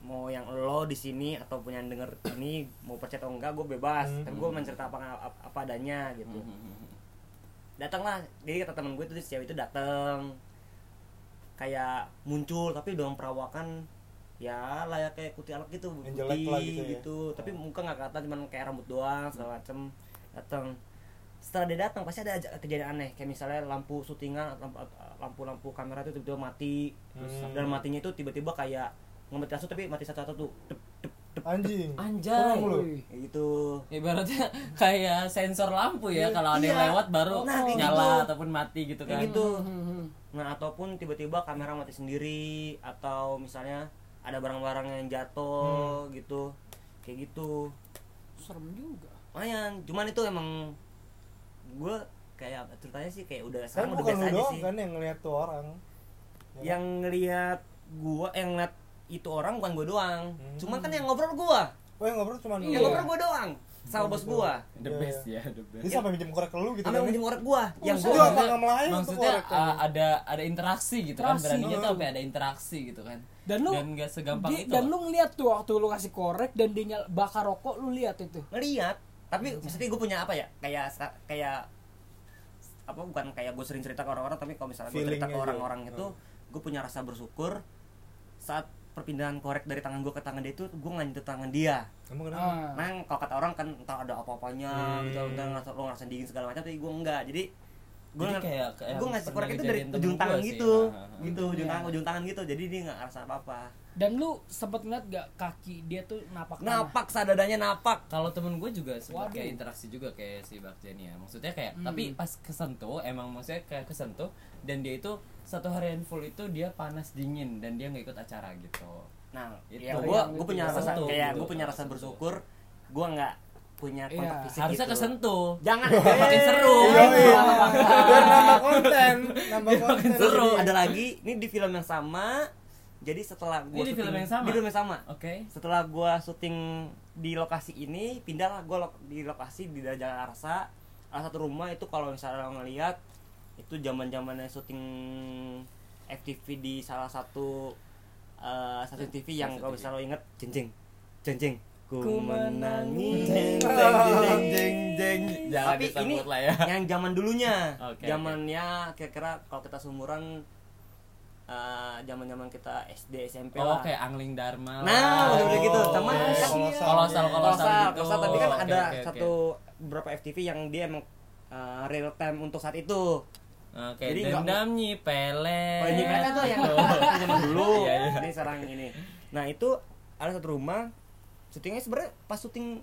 Speaker 5: mau yang lo di sini ataupun yang denger ini mau percaya atau enggak gue bebas
Speaker 1: Hmm.
Speaker 5: tapi gue mencerita apa apa- apa adanya
Speaker 4: Hmm,
Speaker 5: gitu datanglah jadi kata temen gue itu si cewek itu datang kayak muncul tapi dengan perawakan ya layak kayak kuntilanak gitu
Speaker 1: Yang jelek lah gitu ya.
Speaker 5: tapi muka nggak kelihatan cuman kayak rambut doang segala macem datang setelah dia datang pasti ada aja kejadian aneh kayak misalnya lampu syutingan lampu lampu, lampu kamera itu tiba-tiba mati terus
Speaker 1: Hmm.
Speaker 5: dan matinya itu tiba-tiba kayak nggak mati langsung tapi mati satu-satu tuh Dep, dep, dep,
Speaker 1: Hmm. Anjing.
Speaker 4: anjay
Speaker 1: Lu.
Speaker 3: Wih.
Speaker 5: kayak gitu
Speaker 4: ibaratnya kayak sensor lampu ya kalau ada yang
Speaker 5: Iya.
Speaker 4: lewat baru
Speaker 5: Nah, kayak
Speaker 4: nyala
Speaker 5: gitu.
Speaker 4: ataupun mati gitu kan
Speaker 5: Kayak gitu.
Speaker 3: Hmm, hmm.
Speaker 5: Nah, ataupun tiba-tiba kamera mati sendiri atau misalnya ada barang-barang yang jatuh
Speaker 1: Hmm.
Speaker 5: gitu. Kayak gitu.
Speaker 3: serem juga
Speaker 5: Lumayan, cuman itu emang gue kayak ceritanya sih kayak udah
Speaker 1: Kan
Speaker 5: sekarang udah
Speaker 1: bukan
Speaker 5: biasa
Speaker 1: lu
Speaker 5: aja
Speaker 1: doang
Speaker 5: sih.
Speaker 1: kan yang ngeliat tuh orang.
Speaker 5: yang ngelihat gua yang ngeliat itu orang bukan gua doang
Speaker 1: Hmm.
Speaker 5: cuman kan yang ngobrol gua
Speaker 1: Oh yang ngobrol cuma lu.
Speaker 5: yang Iya, ngobrol gua doang sama bos gua
Speaker 4: the
Speaker 1: Iya,
Speaker 4: best ya the
Speaker 1: Dia
Speaker 4: best
Speaker 1: sampai minjem korek ke lu gitu
Speaker 5: sama
Speaker 1: kan.
Speaker 5: yang minjem korek gua yang
Speaker 1: Itu
Speaker 5: gua ah,
Speaker 1: apa nggak melayang tuh
Speaker 4: maksudnya
Speaker 1: korek kan?
Speaker 4: uh, ada ada interaksi gitu kan
Speaker 3: Interaksi.
Speaker 4: beraninya tuh
Speaker 5: hmm.
Speaker 1: Oh.
Speaker 4: sampai ada interaksi gitu kan
Speaker 3: Dan lu-
Speaker 4: dan nggak segampang
Speaker 3: Dia-
Speaker 4: itu
Speaker 3: dan
Speaker 4: loh.
Speaker 3: lu ngeliat tuh waktu lu kasih korek dan dia nyal- bakar rokok lu lihat itu
Speaker 5: ngeliat tapi
Speaker 4: Iya.
Speaker 5: maksudnya gua punya apa ya kayak sa- kayak apa bukan kayak gua sering cerita ke orang-orang tapi kalau misalnya gua cerita
Speaker 1: Feeling
Speaker 5: ke
Speaker 4: gitu.
Speaker 1: aja.
Speaker 5: orang-orang itu
Speaker 4: Oh.
Speaker 1: Hmm.
Speaker 5: gua punya rasa bersyukur saat perpindahan korek dari tangan gua ke tangan dia itu gua nganjut tangan dia
Speaker 1: Kamu kenapa?
Speaker 3: Ah.
Speaker 5: Nang kalau kata orang kan entah ada apa-apanya
Speaker 1: Hmm.
Speaker 5: gitu, entah ngerasa lo ngerasain dingin segala macam, tapi gue enggak. Jadi gue
Speaker 4: Jadi
Speaker 5: nggak-
Speaker 4: kayak- kayak
Speaker 5: gue
Speaker 4: yang
Speaker 5: ngasih
Speaker 4: pernah
Speaker 5: korek itu dari
Speaker 4: kejadian temen
Speaker 5: ujung
Speaker 4: gua
Speaker 5: tangan
Speaker 4: sih. Ah,
Speaker 5: gitu,
Speaker 4: Ha, ha, ha.
Speaker 5: gitu ujung
Speaker 3: Iya.
Speaker 5: tangan ujung tangan gitu. Jadi dia nggak ngerasa apa-apa.
Speaker 3: dan lu sempet ngeliat gak kaki dia tuh napak tanah
Speaker 5: Napak sadadanya napak.
Speaker 4: kalau temen gue juga
Speaker 3: Waduh.
Speaker 4: sempat kayak interaksi juga kayak si Bakjani ya maksudnya kayak
Speaker 3: Hmm.
Speaker 4: tapi pas kesentuh emang maksudnya kayak kesentuh dan dia itu satu harian full itu dia panas dingin dan dia nggak ikut acara gitu
Speaker 5: Nah,
Speaker 4: Itu
Speaker 5: ya
Speaker 4: yang
Speaker 5: gue
Speaker 4: itu
Speaker 5: gue punya rasa
Speaker 4: kesentuh
Speaker 5: kayak
Speaker 4: gitu,
Speaker 5: gue punya rasa
Speaker 4: kesentuh.
Speaker 5: bersyukur, gue nggak punya kontak
Speaker 3: Iya.
Speaker 5: fisik
Speaker 4: harusnya
Speaker 5: gitu.
Speaker 4: kesentuh
Speaker 5: Jangan
Speaker 4: Biar makin seru
Speaker 1: Iya, iya. Biar nambah konten, nambah
Speaker 4: Iya,
Speaker 1: konten.
Speaker 5: Seru. Ada lagi, ini di film yang sama. Jadi setelah gue
Speaker 4: Ini di film yang sama?
Speaker 5: Di film yang sama.
Speaker 4: oke
Speaker 5: setelah gua syuting di lokasi ini pindahlah gua lo- di lokasi di daerah Jalan Arsa ada satu rumah itu kalau misalnya lo ngelihat itu zaman zamannya syuting FTV di salah satu eh, stasiun TV yang
Speaker 4: Stasiun
Speaker 5: kalau
Speaker 4: TV.
Speaker 5: misalnya lo inget jenjeng jenjeng ku
Speaker 3: Ku
Speaker 5: menangis
Speaker 3: menangis.
Speaker 5: jeng jeng jeng jeng jeng.
Speaker 4: Jangan
Speaker 5: tapi ini
Speaker 4: disambut lah ya.
Speaker 5: yang zaman dulunya
Speaker 4: Oke,
Speaker 5: zamannya kira-kira kalau kita seumuran eh, zaman-zaman kita SD SMP
Speaker 4: oh
Speaker 5: lah
Speaker 4: kayak angling dharma
Speaker 5: Nah,
Speaker 4: lah.
Speaker 5: udah udah gitu.
Speaker 4: Oh,
Speaker 5: Cuman
Speaker 4: oke.
Speaker 5: kan
Speaker 1: Kolosal.
Speaker 4: kolosal kolosal
Speaker 5: kolosal,
Speaker 4: gitu.
Speaker 5: kolosal, tapi kan
Speaker 4: Oke,
Speaker 5: ada
Speaker 4: oke, oke.
Speaker 5: satu beberapa FTV yang dia emang uh, real time untuk saat itu.
Speaker 4: Nah, kayak
Speaker 5: Jadi nggak-
Speaker 4: dendam nyi pelet
Speaker 5: Kalau ini mereka tuh yang zaman dulu,
Speaker 4: Eh. Iya, iya.
Speaker 5: ini sekarang ini. Nah itu ada satu rumah, syutingnya sebenarnya pas syuting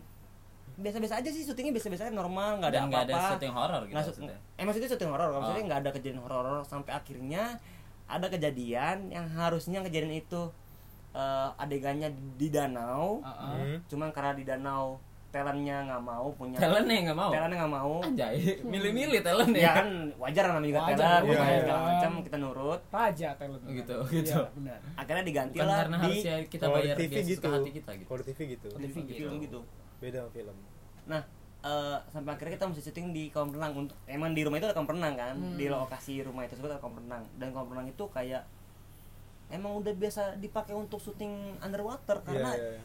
Speaker 5: biasa-biasa aja sih syutingnya biasa-biasa aja, normal nggak ada
Speaker 4: Dan nggak ada
Speaker 5: apa-apa.
Speaker 4: syuting horor gitu
Speaker 5: Nggak
Speaker 4: maksudnya.
Speaker 5: syut- eh maksudnya syuting horor, maksudnya
Speaker 4: Oh.
Speaker 5: nggak ada kejadian horor sampai akhirnya ada kejadian yang harusnya kejadian itu eh, adegannya di danau.
Speaker 3: Ah,
Speaker 4: Heeh.
Speaker 1: Hmm.
Speaker 5: cuman karena di danau talentnya nggak mau punya
Speaker 4: talent ya nggak mau
Speaker 5: talentnya nggak mau
Speaker 4: anjay milih-milih talent
Speaker 5: ya Hmm. kan wajar namanya juga
Speaker 3: Wajar,
Speaker 5: talent
Speaker 1: iya,
Speaker 5: pemain
Speaker 1: iya.
Speaker 5: segala macam kita nurut
Speaker 3: raja talent
Speaker 4: Gitu,
Speaker 3: Iya,
Speaker 4: gitu.
Speaker 3: benar
Speaker 5: akhirnya diganti
Speaker 4: Bukan
Speaker 5: lah
Speaker 4: karena
Speaker 5: di
Speaker 4: harusnya Eh, kita
Speaker 1: Kalau di
Speaker 4: bayar
Speaker 1: TV
Speaker 4: dia
Speaker 1: gitu.
Speaker 4: suka hati kita gitu.
Speaker 1: Kalau di TV ya, gitu.
Speaker 4: Kalau di
Speaker 5: di film gitu
Speaker 1: Beda sama film.
Speaker 5: nah eh, sampai akhirnya kita mesti syuting di kolam renang untuk emang di rumah itu ada kolam renang kan di lokasi rumah itu sebetulnya ada kolam renang dan kolam renang itu kayak emang udah biasa dipakai untuk syuting
Speaker 1: Iya,
Speaker 5: underwater karena
Speaker 1: iya, iya.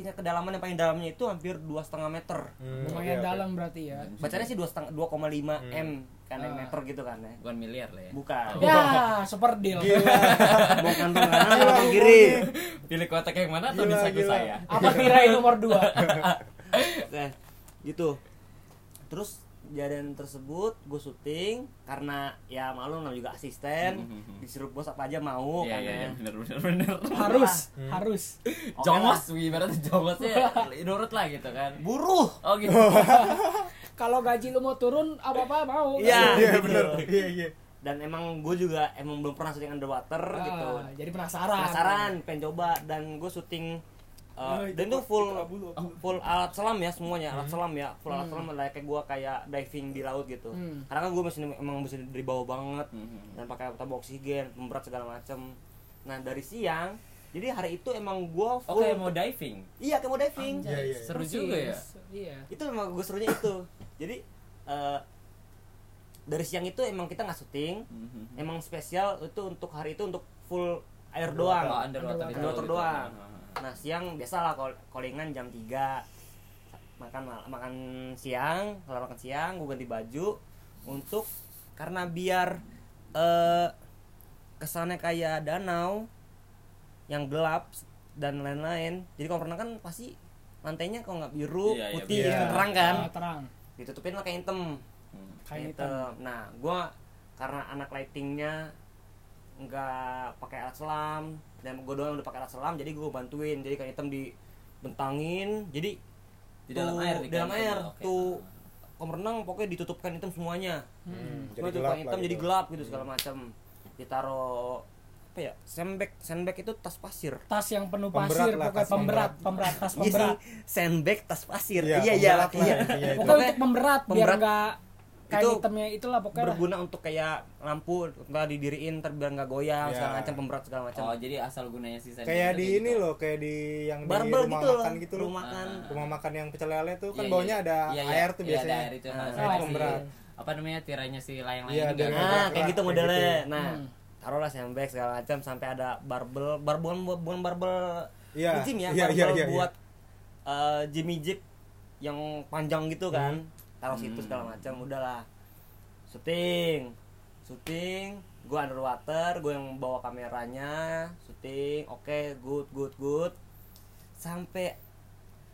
Speaker 5: tingkat kedalaman yang paling dalamnya itu hampir dua setengah meter
Speaker 1: Hmm, oke,
Speaker 3: lumayan
Speaker 1: oke.
Speaker 3: dalam berarti ya
Speaker 5: bacanya sih dua setengah dua koma lima
Speaker 1: Hmm.
Speaker 5: m kan
Speaker 3: Ah.
Speaker 5: meter gitu kan ya
Speaker 4: bukan miliar lah ya
Speaker 5: bukan
Speaker 3: ya super deal
Speaker 1: Gila.
Speaker 5: mau kantong kanan mau kantong kiri
Speaker 4: pilih kotak yang mana atau
Speaker 1: Gila,
Speaker 4: disaku
Speaker 1: gila.
Speaker 4: saya
Speaker 3: apa tirai nomor 2
Speaker 5: Nah, gitu terus kejadian tersebut gue syuting karena ya malu namanya juga asisten disuruh bos apa aja mau
Speaker 4: Mm-hmm. iya
Speaker 5: kan
Speaker 4: iya
Speaker 5: ya.
Speaker 4: iya, bener bener bener
Speaker 3: harus
Speaker 1: Hmm.
Speaker 3: harus
Speaker 5: Oke
Speaker 4: jongos ibaratnya jongosnya nurut lah gitu kan
Speaker 5: buruh
Speaker 4: oh gitu
Speaker 3: kalau gaji lu mau turun apa apa mau
Speaker 5: Iya.
Speaker 1: Iya
Speaker 5: Gitu.
Speaker 1: benar. Iya iya.
Speaker 5: dan emang gue juga emang belum pernah syuting underwater
Speaker 3: Ah,
Speaker 5: gitu
Speaker 3: jadi penasaran
Speaker 5: penasaran pengen coba dan gue syuting uh,
Speaker 2: Nah,
Speaker 4: Nah,
Speaker 5: dan tuh full full alat selam ya semuanya
Speaker 4: Mm-hmm.
Speaker 5: alat selam ya full
Speaker 4: Mm.
Speaker 5: alat selam lah kayak gue kayak diving di laut gitu
Speaker 3: Hmm.
Speaker 5: karena kan gue masih emang masih dari bawah banget
Speaker 4: Hmm.
Speaker 5: dan pakai tabung oksigen pemberat segala macam nah dari siang jadi hari itu emang gue
Speaker 4: oke
Speaker 5: full
Speaker 4: Oh, mau diving
Speaker 5: iya kayak mau diving
Speaker 1: Iya iya. iya.
Speaker 4: seru
Speaker 3: Persis.
Speaker 4: juga ya
Speaker 3: iya
Speaker 5: itu emang gue serunya itu jadi eh, dari siang itu emang kita nggak syuting
Speaker 4: Mhm.
Speaker 5: emang spesial itu untuk hari itu untuk full air
Speaker 1: Underwater.
Speaker 5: doang
Speaker 4: Oh, underwater, itu
Speaker 5: Underwater
Speaker 4: gitu.
Speaker 5: doang.
Speaker 4: Ah, ah, ah.
Speaker 5: Nah siang biasalah kol- callingan jam 3 makan mal- makan siang setelah makan siang gue ganti baju untuk karena biar eh, kesannya kayak danau yang gelap dan lain-lain jadi kalau renang kan pasti lantainya kalau nggak biru
Speaker 4: Iya, iya,
Speaker 5: putih
Speaker 1: iya.
Speaker 5: gitu, terang kan
Speaker 3: Ah, terang
Speaker 5: ditutupin lah kayak hitam
Speaker 4: Hmm.
Speaker 3: kain
Speaker 5: Kayak
Speaker 3: hitam
Speaker 5: hitam. Nah, gua karena anak lightingnya nggak pakai alat selam dan gue doang yang udah pakai alat selam, jadi gue bantuin. Jadi kain hitam dibentangin, jadi
Speaker 4: Di dalam air, di
Speaker 5: di dalam
Speaker 4: kain
Speaker 5: air
Speaker 4: hitam, oke.
Speaker 5: tuh kolam renang pokoknya ditutupkan hitam semuanya.
Speaker 1: Hmm,
Speaker 5: Jadi
Speaker 1: gelap
Speaker 5: hitam
Speaker 1: lah
Speaker 5: jadi
Speaker 1: gitu.
Speaker 5: gelap
Speaker 4: Iya.
Speaker 5: gitu segala macam. Ditaro apa ya? Sandbag, sandbag itu tas pasir.
Speaker 3: tas yang penuh
Speaker 1: Pemberat
Speaker 3: pasir
Speaker 1: lah,
Speaker 3: pokoknya
Speaker 1: tas
Speaker 3: pemberat pemberat tas
Speaker 5: Iya sih,
Speaker 3: pemberat
Speaker 5: sandbag tas pasir.
Speaker 1: Iya,
Speaker 5: Iya iya
Speaker 1: pemberat lah
Speaker 5: iya.
Speaker 1: intinya itu.
Speaker 3: pokoknya untuk pemberat biar
Speaker 5: Pemberat.
Speaker 3: nggak kain
Speaker 5: itu
Speaker 3: hitamnya itulah pokoknya lah.
Speaker 5: berguna untuk kayak lampu nggak didiriin terbiar nggak goyang
Speaker 1: Ya.
Speaker 5: segala macam pemberat segala macam
Speaker 4: oh jadi asal gunanya sisa gitu.
Speaker 1: kayak di ini loh kayak di yang di
Speaker 5: barbel
Speaker 1: rumah
Speaker 5: gitu loh
Speaker 1: makan gitu loh
Speaker 5: rumah makan
Speaker 4: Ah.
Speaker 1: rumah makan yang pecel lele tuh
Speaker 4: Iya,
Speaker 1: kan bawahnya ada air tuh biasanya Nah,
Speaker 4: ada air itu iya,
Speaker 5: Ah,
Speaker 1: itu
Speaker 4: sama si-
Speaker 1: pemberat.
Speaker 4: apa namanya tiranya si layang-layang
Speaker 1: Iya,
Speaker 4: juga
Speaker 1: dari-
Speaker 4: kan.
Speaker 5: nah kayak gitu
Speaker 1: Kayak
Speaker 5: modelnya
Speaker 1: gitu.
Speaker 5: nah taruhlah sandbag segala macam sampai ada barbel barbon bukan barbel
Speaker 1: Iya.
Speaker 5: di gym ya
Speaker 1: Iya,
Speaker 5: barbel
Speaker 1: iya, iya,
Speaker 5: buat eh, Jimmy Jeep yang panjang gitu kan taruh situ
Speaker 4: Hmm.
Speaker 5: segala macam udahlah syuting syuting gue underwater gue yang bawa kameranya syuting oke good good good sampai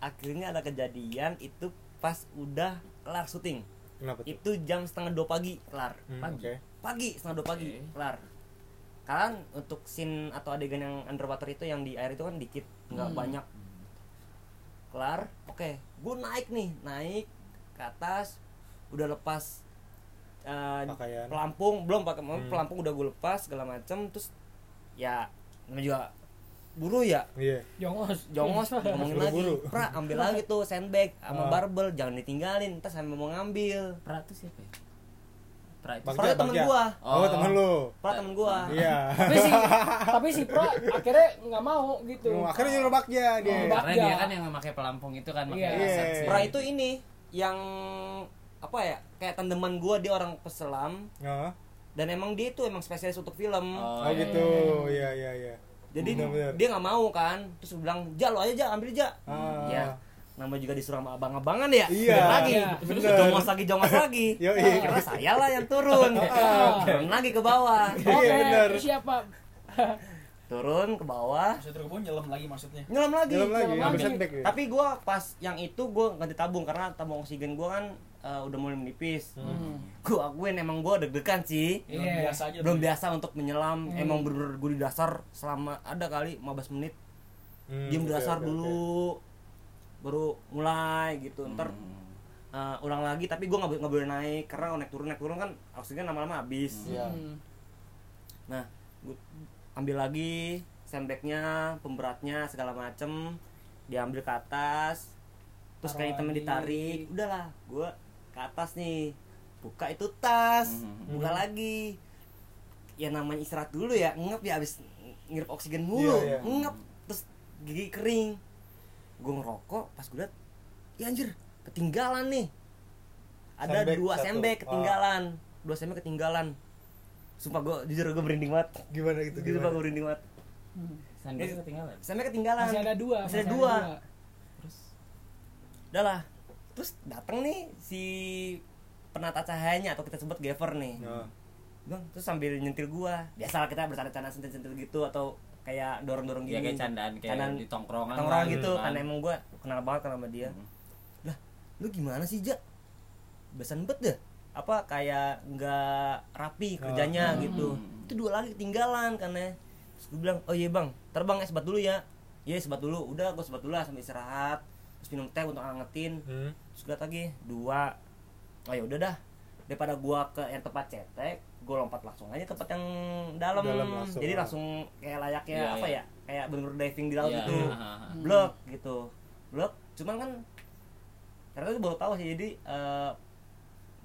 Speaker 5: akhirnya ada kejadian itu pas udah kelar syuting
Speaker 1: kenapa tuh
Speaker 5: itu jam setengah dua pagi kelar
Speaker 1: Hmm,
Speaker 5: pagi
Speaker 1: oke.
Speaker 5: pagi setengah dua pagi
Speaker 4: Oke.
Speaker 5: kelar kalian untuk scene atau adegan yang underwater itu yang di air itu kan dikit nggak
Speaker 3: Hmm.
Speaker 5: banyak kelar oke gue naik nih naik ke atas udah lepas eh,
Speaker 1: Pakaian.
Speaker 5: pelampung belum pakai
Speaker 1: Hmm.
Speaker 5: pelampung udah gue lepas segala macem terus ya namanya juga buru ya
Speaker 1: iya
Speaker 3: jongos Iya.
Speaker 5: jongos
Speaker 3: Hmm.
Speaker 5: ngomongin lagi
Speaker 1: Buru-buru.
Speaker 5: pra ambil lagi tuh sandbag
Speaker 1: Ah.
Speaker 5: sama barbel jangan ditinggalin ntar sampai mau ngambil
Speaker 4: pra itu siapa ya pra itu
Speaker 1: Bang-
Speaker 5: pra
Speaker 1: Bagja,
Speaker 5: temen
Speaker 1: Bagja.
Speaker 5: gua
Speaker 1: oh,
Speaker 4: Oh. Ah.
Speaker 1: temen lu
Speaker 5: pra temen gua
Speaker 1: iya
Speaker 3: tapi si tapi si pro akhirnya nggak mau gitu
Speaker 1: Oh, akhirnya nyuruh bakja dia
Speaker 3: Oh,
Speaker 4: karena
Speaker 3: Bagja.
Speaker 4: dia kan yang memakai pelampung itu kan pakai
Speaker 3: Iya.
Speaker 4: laser
Speaker 1: Iya.
Speaker 4: sih.
Speaker 5: pra itu ini yang apa ya kayak tandeman gua dia orang peselam
Speaker 1: oh,
Speaker 5: dan emang dia itu emang spesialis untuk film
Speaker 4: oh,
Speaker 1: oh
Speaker 4: iya.
Speaker 1: gitu iya iya iya
Speaker 5: jadi
Speaker 1: Bener-bener.
Speaker 5: dia nggak mau kan terus gua bilang ja lo aja ja ambil ja
Speaker 1: Ah.
Speaker 5: ya nama juga disuruh sama abang-abangan ya
Speaker 1: Iya,
Speaker 5: Balik lagi
Speaker 3: iya,
Speaker 1: bener. Iya.
Speaker 5: jongos lagi jongos lagi
Speaker 1: Yoi.
Speaker 5: Nah, akhirnya saya lah yang turun
Speaker 1: Ah,
Speaker 5: turun lagi ke bawah
Speaker 3: oke
Speaker 1: Iya, benar.
Speaker 3: siapa
Speaker 5: turun ke bawah
Speaker 2: Maksudnya gue nyelam lagi maksudnya.
Speaker 5: nyelam lagi
Speaker 1: dalam lagi
Speaker 3: lagi.
Speaker 1: ambil sandbag ya
Speaker 5: tapi gua pas yang itu gua ganti tabung karena tabung oksigen gua kan eh, udah mulai menipis
Speaker 3: Hmm.
Speaker 5: gua akuin emang gua deg-degan sih
Speaker 2: Nyelam
Speaker 3: Iya.
Speaker 2: biasa aja.
Speaker 5: belum
Speaker 2: tuh.
Speaker 5: biasa untuk menyelam emang bener-bener gue di dasar selama ada kali 15 menit
Speaker 1: Hmm,
Speaker 5: diem di
Speaker 1: oke,
Speaker 5: dasar
Speaker 1: oke, oke.
Speaker 5: dulu baru mulai gitu ntar
Speaker 1: Hmm.
Speaker 5: eh, ulang lagi tapi gue nggak bo- nggak boleh naik karena naik turun naik turun kan oksigen lama-lama habis
Speaker 1: Iya.
Speaker 3: Hmm.
Speaker 5: nah gue ambil lagi sandbagnya pemberatnya segala macem diambil ke atas terus
Speaker 3: Taruh
Speaker 5: kain hitamnya
Speaker 3: lagi.
Speaker 5: ditarik udahlah gue ke atas nih buka itu tas
Speaker 4: Mhm.
Speaker 5: buka
Speaker 3: Hmm.
Speaker 1: Mhm.
Speaker 5: lagi ya namanya istirahat dulu ya ngep ya abis ngirip oksigen mulu
Speaker 1: Iya, iya.
Speaker 5: ngep terus gigi kering gue ngerokok pas gue liat ya anjir ketinggalan nih ada
Speaker 1: Sandbag
Speaker 5: dua
Speaker 1: satu.
Speaker 5: sendok
Speaker 1: Ah.
Speaker 5: ketinggalan dua sendok ketinggalan sumpah gue jujur gue merinding banget
Speaker 1: gimana gitu
Speaker 5: jujur
Speaker 1: gimana
Speaker 5: gue merinding banget
Speaker 3: Hmm.
Speaker 4: sandwich ketinggalan
Speaker 5: sendok ketinggalan
Speaker 3: masih ada dua
Speaker 5: masih ada dua
Speaker 4: terus
Speaker 5: udah lah terus datang nih si penata cahayanya atau kita sebut Gaffer nih
Speaker 1: Oh.
Speaker 5: bang terus sambil nyentil gua biasalah kita bercanda-canda sentil-sentil gitu atau kayak dorong-dorong
Speaker 4: dia Iya, Ya,
Speaker 5: gini
Speaker 4: kayak candaan kayak
Speaker 5: Candaan
Speaker 4: di tongkrongan
Speaker 5: orang
Speaker 4: lah,
Speaker 5: gitu
Speaker 4: kan.
Speaker 1: Iya,
Speaker 4: Mm-hmm.
Speaker 5: karena emang gua kenal banget kan sama dia lah lu gimana sih ja besan bet deh apa kayak nggak rapi kerjanya
Speaker 4: Hmm.
Speaker 5: gitu itu dua lagi ketinggalan karena terus gue bilang oh iya bang terbang es sebat dulu ya iya sebat dulu udah gue sebat dulu lah sampai istirahat terus minum teh untuk angetin
Speaker 1: Hmm.
Speaker 5: terus gue liat lagi dua oh ya udah dah daripada gua ke yang tempat cetek gua lompat langsung aja tempat yang dalam,
Speaker 1: Dalam langsung.
Speaker 5: jadi langsung kayak layaknya
Speaker 4: Iya,
Speaker 5: apa
Speaker 4: iya.
Speaker 5: ya kayak bener diving di laut
Speaker 4: Iya,
Speaker 5: gitu
Speaker 4: ah, ah, ah.
Speaker 5: blok gitu blok cuman kan ternyata gue baru tahu sih jadi eh,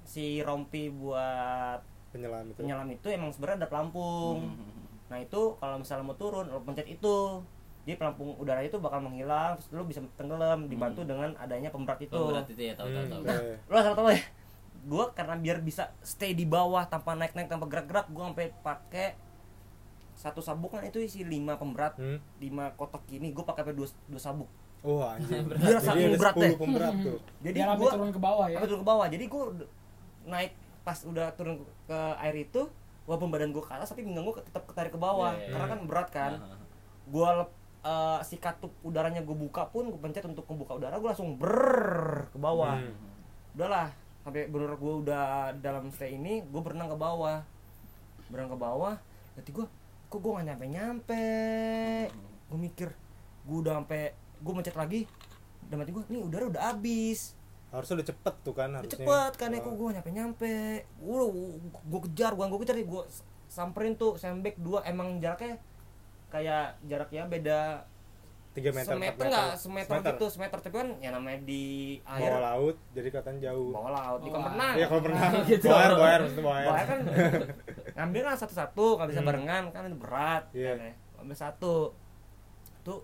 Speaker 5: si rompi buat
Speaker 1: penyelam itu
Speaker 5: penyelam itu emang sebenarnya ada pelampung
Speaker 4: Hmm.
Speaker 5: Nah itu kalau misalnya mau turun lo pencet itu jadi pelampung udara itu bakal menghilang terus lo bisa tenggelam dibantu dengan adanya pemberat itu.
Speaker 4: Oh, berarti itu ya tahu tahu
Speaker 1: Hmm,
Speaker 4: tahu
Speaker 1: oke.
Speaker 5: Lo asal tau ya. Gue karena biar bisa stay di bawah tanpa naik-naik tanpa gerak-gerak gue sampai pakai satu sabuk kan itu isi lima pemberat
Speaker 1: Hmm.
Speaker 5: lima kotak gini gue pakai sampai dua, dua sabuk
Speaker 1: Wah, anjir.
Speaker 4: Berat.
Speaker 5: Biar saking
Speaker 1: Jadi ada
Speaker 5: berat
Speaker 1: 10
Speaker 5: deh. Hmm.
Speaker 1: pemberat tuh.
Speaker 5: jadi
Speaker 3: biar sampai
Speaker 5: gue
Speaker 3: turun ke bawah ya
Speaker 5: sampai turun ke bawah jadi gue naik pas udah turun ke air itu walaupun badan gue ke atas tapi pinggang gue tetap ketarik ke bawah
Speaker 4: Iya, iya,
Speaker 5: karena
Speaker 1: iya.
Speaker 5: kan berat kan
Speaker 4: Ah, ah.
Speaker 5: gua lep- eh, si katup udaranya gue buka pun gue pencet untuk membuka udara gue langsung ber ke bawah
Speaker 1: Hmm.
Speaker 5: udahlah sampai bener gue udah dalam stay ini gue berenang ke bawah berenang ke bawah nanti gue kok gue gak nyampe nyampe gue mikir gue udah sampai gue mencet lagi dan mati gue nih udara udah habis
Speaker 1: Harusnya udah cepet tuh kan harusnya.
Speaker 5: cepet kan ya
Speaker 1: Oh.
Speaker 5: kok gue nyampe nyampe gue gue kejar gue gue kejar gue samperin tuh sandbag dua emang jaraknya kayak jaraknya ya beda
Speaker 1: tiga Iya, meter empat
Speaker 5: semeter nggak semeter gitu semeter tapi kan yang namanya di air
Speaker 1: bawah laut jadi kelihatan jauh
Speaker 5: bawah laut di
Speaker 3: Bawah.
Speaker 5: kolam renang
Speaker 1: Iya kalau pernah
Speaker 3: Gitu.
Speaker 1: boer boer maksudnya boer.
Speaker 5: bawah air kan ngambil kan satu-satu nggak bisa
Speaker 1: Hmm.
Speaker 5: barengan kan itu berat
Speaker 1: Iya.
Speaker 5: kan ya. ambil satu tuh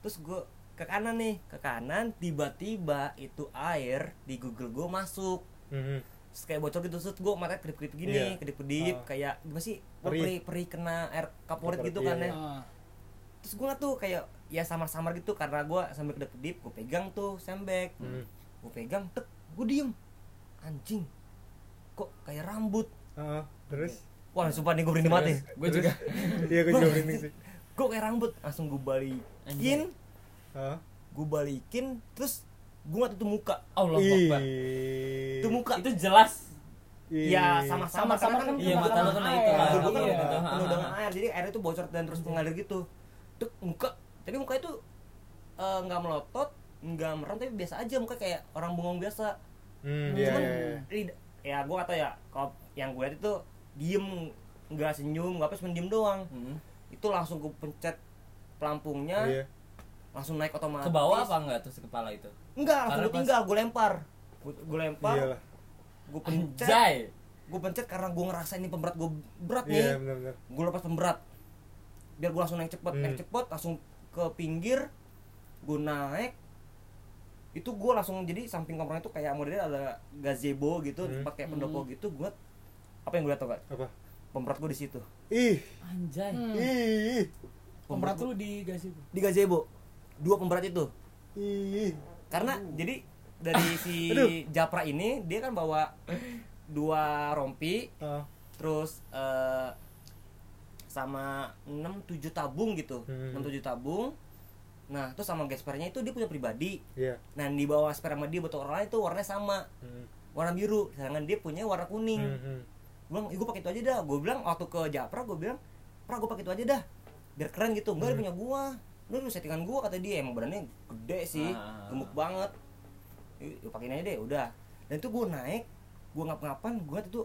Speaker 5: terus gue ke kanan nih ke kanan tiba-tiba itu air di Google gue masuk
Speaker 1: Mhm.
Speaker 5: terus kayak bocor gitu terus gue mata kedip-kedip gini
Speaker 1: Iya.
Speaker 5: kedip-kedip
Speaker 1: Ah.
Speaker 5: kayak gimana sih
Speaker 1: Perih.
Speaker 5: perih perih kena air kaporit
Speaker 1: Kaporit,
Speaker 5: gitu
Speaker 1: iya,
Speaker 5: kan
Speaker 1: iya.
Speaker 5: ya
Speaker 3: Ah,
Speaker 5: terus gue tuh kayak ya samar-samar gitu karena gue sambil kedip-kedip gue pegang tuh sembek
Speaker 1: Mhm.
Speaker 5: gue pegang tek gue diem anjing kok kayak rambut
Speaker 1: Heeh, terus
Speaker 5: wah sumpah nih gue berani mati
Speaker 4: gue juga
Speaker 1: iya gue juga merinding sih
Speaker 5: gue kayak rambut langsung gue balikin
Speaker 4: Anjing.
Speaker 1: Heeh.
Speaker 5: gue balikin terus gue nggak tutup muka
Speaker 4: Allah
Speaker 1: Ih.
Speaker 4: Akbar
Speaker 5: tutup muka
Speaker 4: itu jelas
Speaker 1: Ih.
Speaker 5: ya sama-sama
Speaker 3: Sama-sama
Speaker 5: karena
Speaker 3: kan
Speaker 4: iya
Speaker 3: Sama
Speaker 4: mata lu
Speaker 3: sama
Speaker 4: kena
Speaker 3: air.
Speaker 4: itu lah
Speaker 5: Nah,
Speaker 3: Iya.
Speaker 5: dulu kan
Speaker 4: Iya.
Speaker 5: udah
Speaker 4: Ah,
Speaker 5: penuh
Speaker 4: ah,
Speaker 5: dengan
Speaker 4: ah.
Speaker 5: air jadi airnya tuh bocor dan terus mengalir gitu tuh muka tapi muka itu eh, nggak melotot nggak merem tapi biasa aja muka kayak orang bengong biasa
Speaker 1: hmm, iya,
Speaker 5: cuman
Speaker 1: iya, iya.
Speaker 5: lid- ya gue kata ya kalau yang gue lihat itu diem nggak senyum nggak apa cuma diem doang
Speaker 4: Mm-mm.
Speaker 5: itu langsung gue pencet pelampungnya
Speaker 1: Iya.
Speaker 5: langsung naik otomatis
Speaker 4: ke bawah apa enggak tuh si kepala itu
Speaker 5: enggak langsung
Speaker 4: Karena
Speaker 5: gue tinggal gue lempar gue lempar
Speaker 1: Iyalah.
Speaker 5: gue pencet
Speaker 4: Anjay
Speaker 5: gue pencet karena gue ngerasa ini pemberat gue berat nih
Speaker 1: Iya, benar-benar.
Speaker 5: gue lepas pemberat biar gue langsung naik cepet
Speaker 1: Hmm.
Speaker 5: naik cepet langsung ke pinggir gue naik itu gue langsung jadi samping kompornya itu kayak modelnya ada gazebo gitu
Speaker 1: Hmm.
Speaker 5: pakai pendopo gitu gue apa yang gue lihat tau gak
Speaker 1: Apa?
Speaker 5: pemberat gue di situ
Speaker 1: Ih,
Speaker 4: Anjay
Speaker 3: Hmm.
Speaker 1: ih,
Speaker 3: Pemberat lu di gas itu.
Speaker 5: di gazebo dua pemberat itu
Speaker 1: ih.
Speaker 5: karena jadi dari si Japra ini dia kan bawa dua rompi
Speaker 1: Ah,
Speaker 5: terus eh, sama 6 7 tabung gitu.
Speaker 1: Hmm.
Speaker 5: 6 7 tabung. Nah, terus sama gespernya itu dia punya pribadi.
Speaker 1: iya.
Speaker 5: Nah, di bawah spare sama dia botol orang lain itu warnanya sama,
Speaker 1: Hmm,
Speaker 5: warna biru. Sedangkan dia punya warna kuning.
Speaker 1: hmm, hmm.
Speaker 5: Gue bilang, "Ih, gua pakai itu aja dah." Gue bilang waktu ke Japra gue bilang, "Pra, gue pakai itu aja dah." Biar keren gitu.
Speaker 4: Hmm.
Speaker 5: Enggak, dia punya gua. Lu lu settingan gua kata dia emang badannya gede sih,
Speaker 4: Ah.
Speaker 5: gemuk banget. "Ih, Lu pakein aja deh, udah. Dan itu gue naik, gue ngap-ngapan, gue itu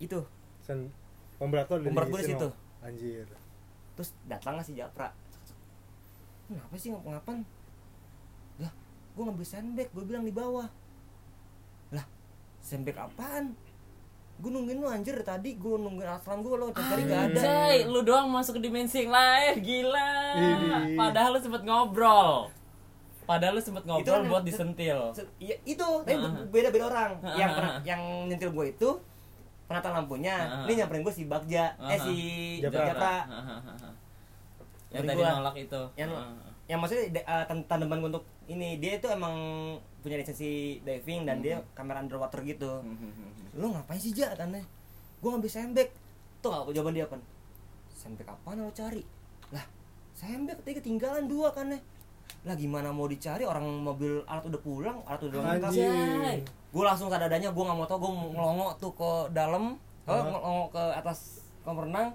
Speaker 5: itu
Speaker 1: Sen pemberat lo ada
Speaker 5: Pemberat gua di situ.
Speaker 1: Anjir.
Speaker 5: terus datanglah si Japra kenapa sih ngapa-ngapan lah gue ngambil sandbag gue bilang di bawah lah sandbag apaan gue nungguin lu anjir dari tadi gue nungguin aslan gue lo dari tadi gak ada
Speaker 4: Anjay, lu doang masuk ke dimensi yang lain, gila.
Speaker 1: Ini.
Speaker 4: Padahal lu sempet ngobrol. Padahal lu sempet
Speaker 5: Itu kan
Speaker 4: ngobrol buat
Speaker 5: yang-
Speaker 4: disentil.
Speaker 5: Se- iya itu tapi
Speaker 4: Ah.
Speaker 5: beda-beda orang
Speaker 4: Ah.
Speaker 5: yang pernah, yang nyentil gue itu penata lampunya
Speaker 4: Ah.
Speaker 5: ini nyamperin gue si Bagja
Speaker 4: Ah.
Speaker 5: eh si
Speaker 1: Japra.
Speaker 5: Japra,
Speaker 4: Yang
Speaker 5: Beri
Speaker 4: tadi
Speaker 5: gua.
Speaker 4: nolak itu.
Speaker 5: yang
Speaker 4: Heeh.
Speaker 5: yang maksudnya de- eh, tan- tandeman gua untuk ini dia itu emang punya lisensi diving
Speaker 4: Hmm.
Speaker 5: dan dia kamera underwater gitu lu ngapain sih ja katanya gue ngambil sandbag tuh apa jawaban dia apa sandbag apaan lo cari lah sandbag tadi ketinggalan dua kan lah gimana mau dicari orang mobil alat udah pulang alat udah lengkap
Speaker 1: Anjir.
Speaker 5: gue langsung sadadanya gue nggak mau tau gue ngelongok tuh ke dalam eh,
Speaker 1: Hah?
Speaker 5: ngelongok ke atas kolam renang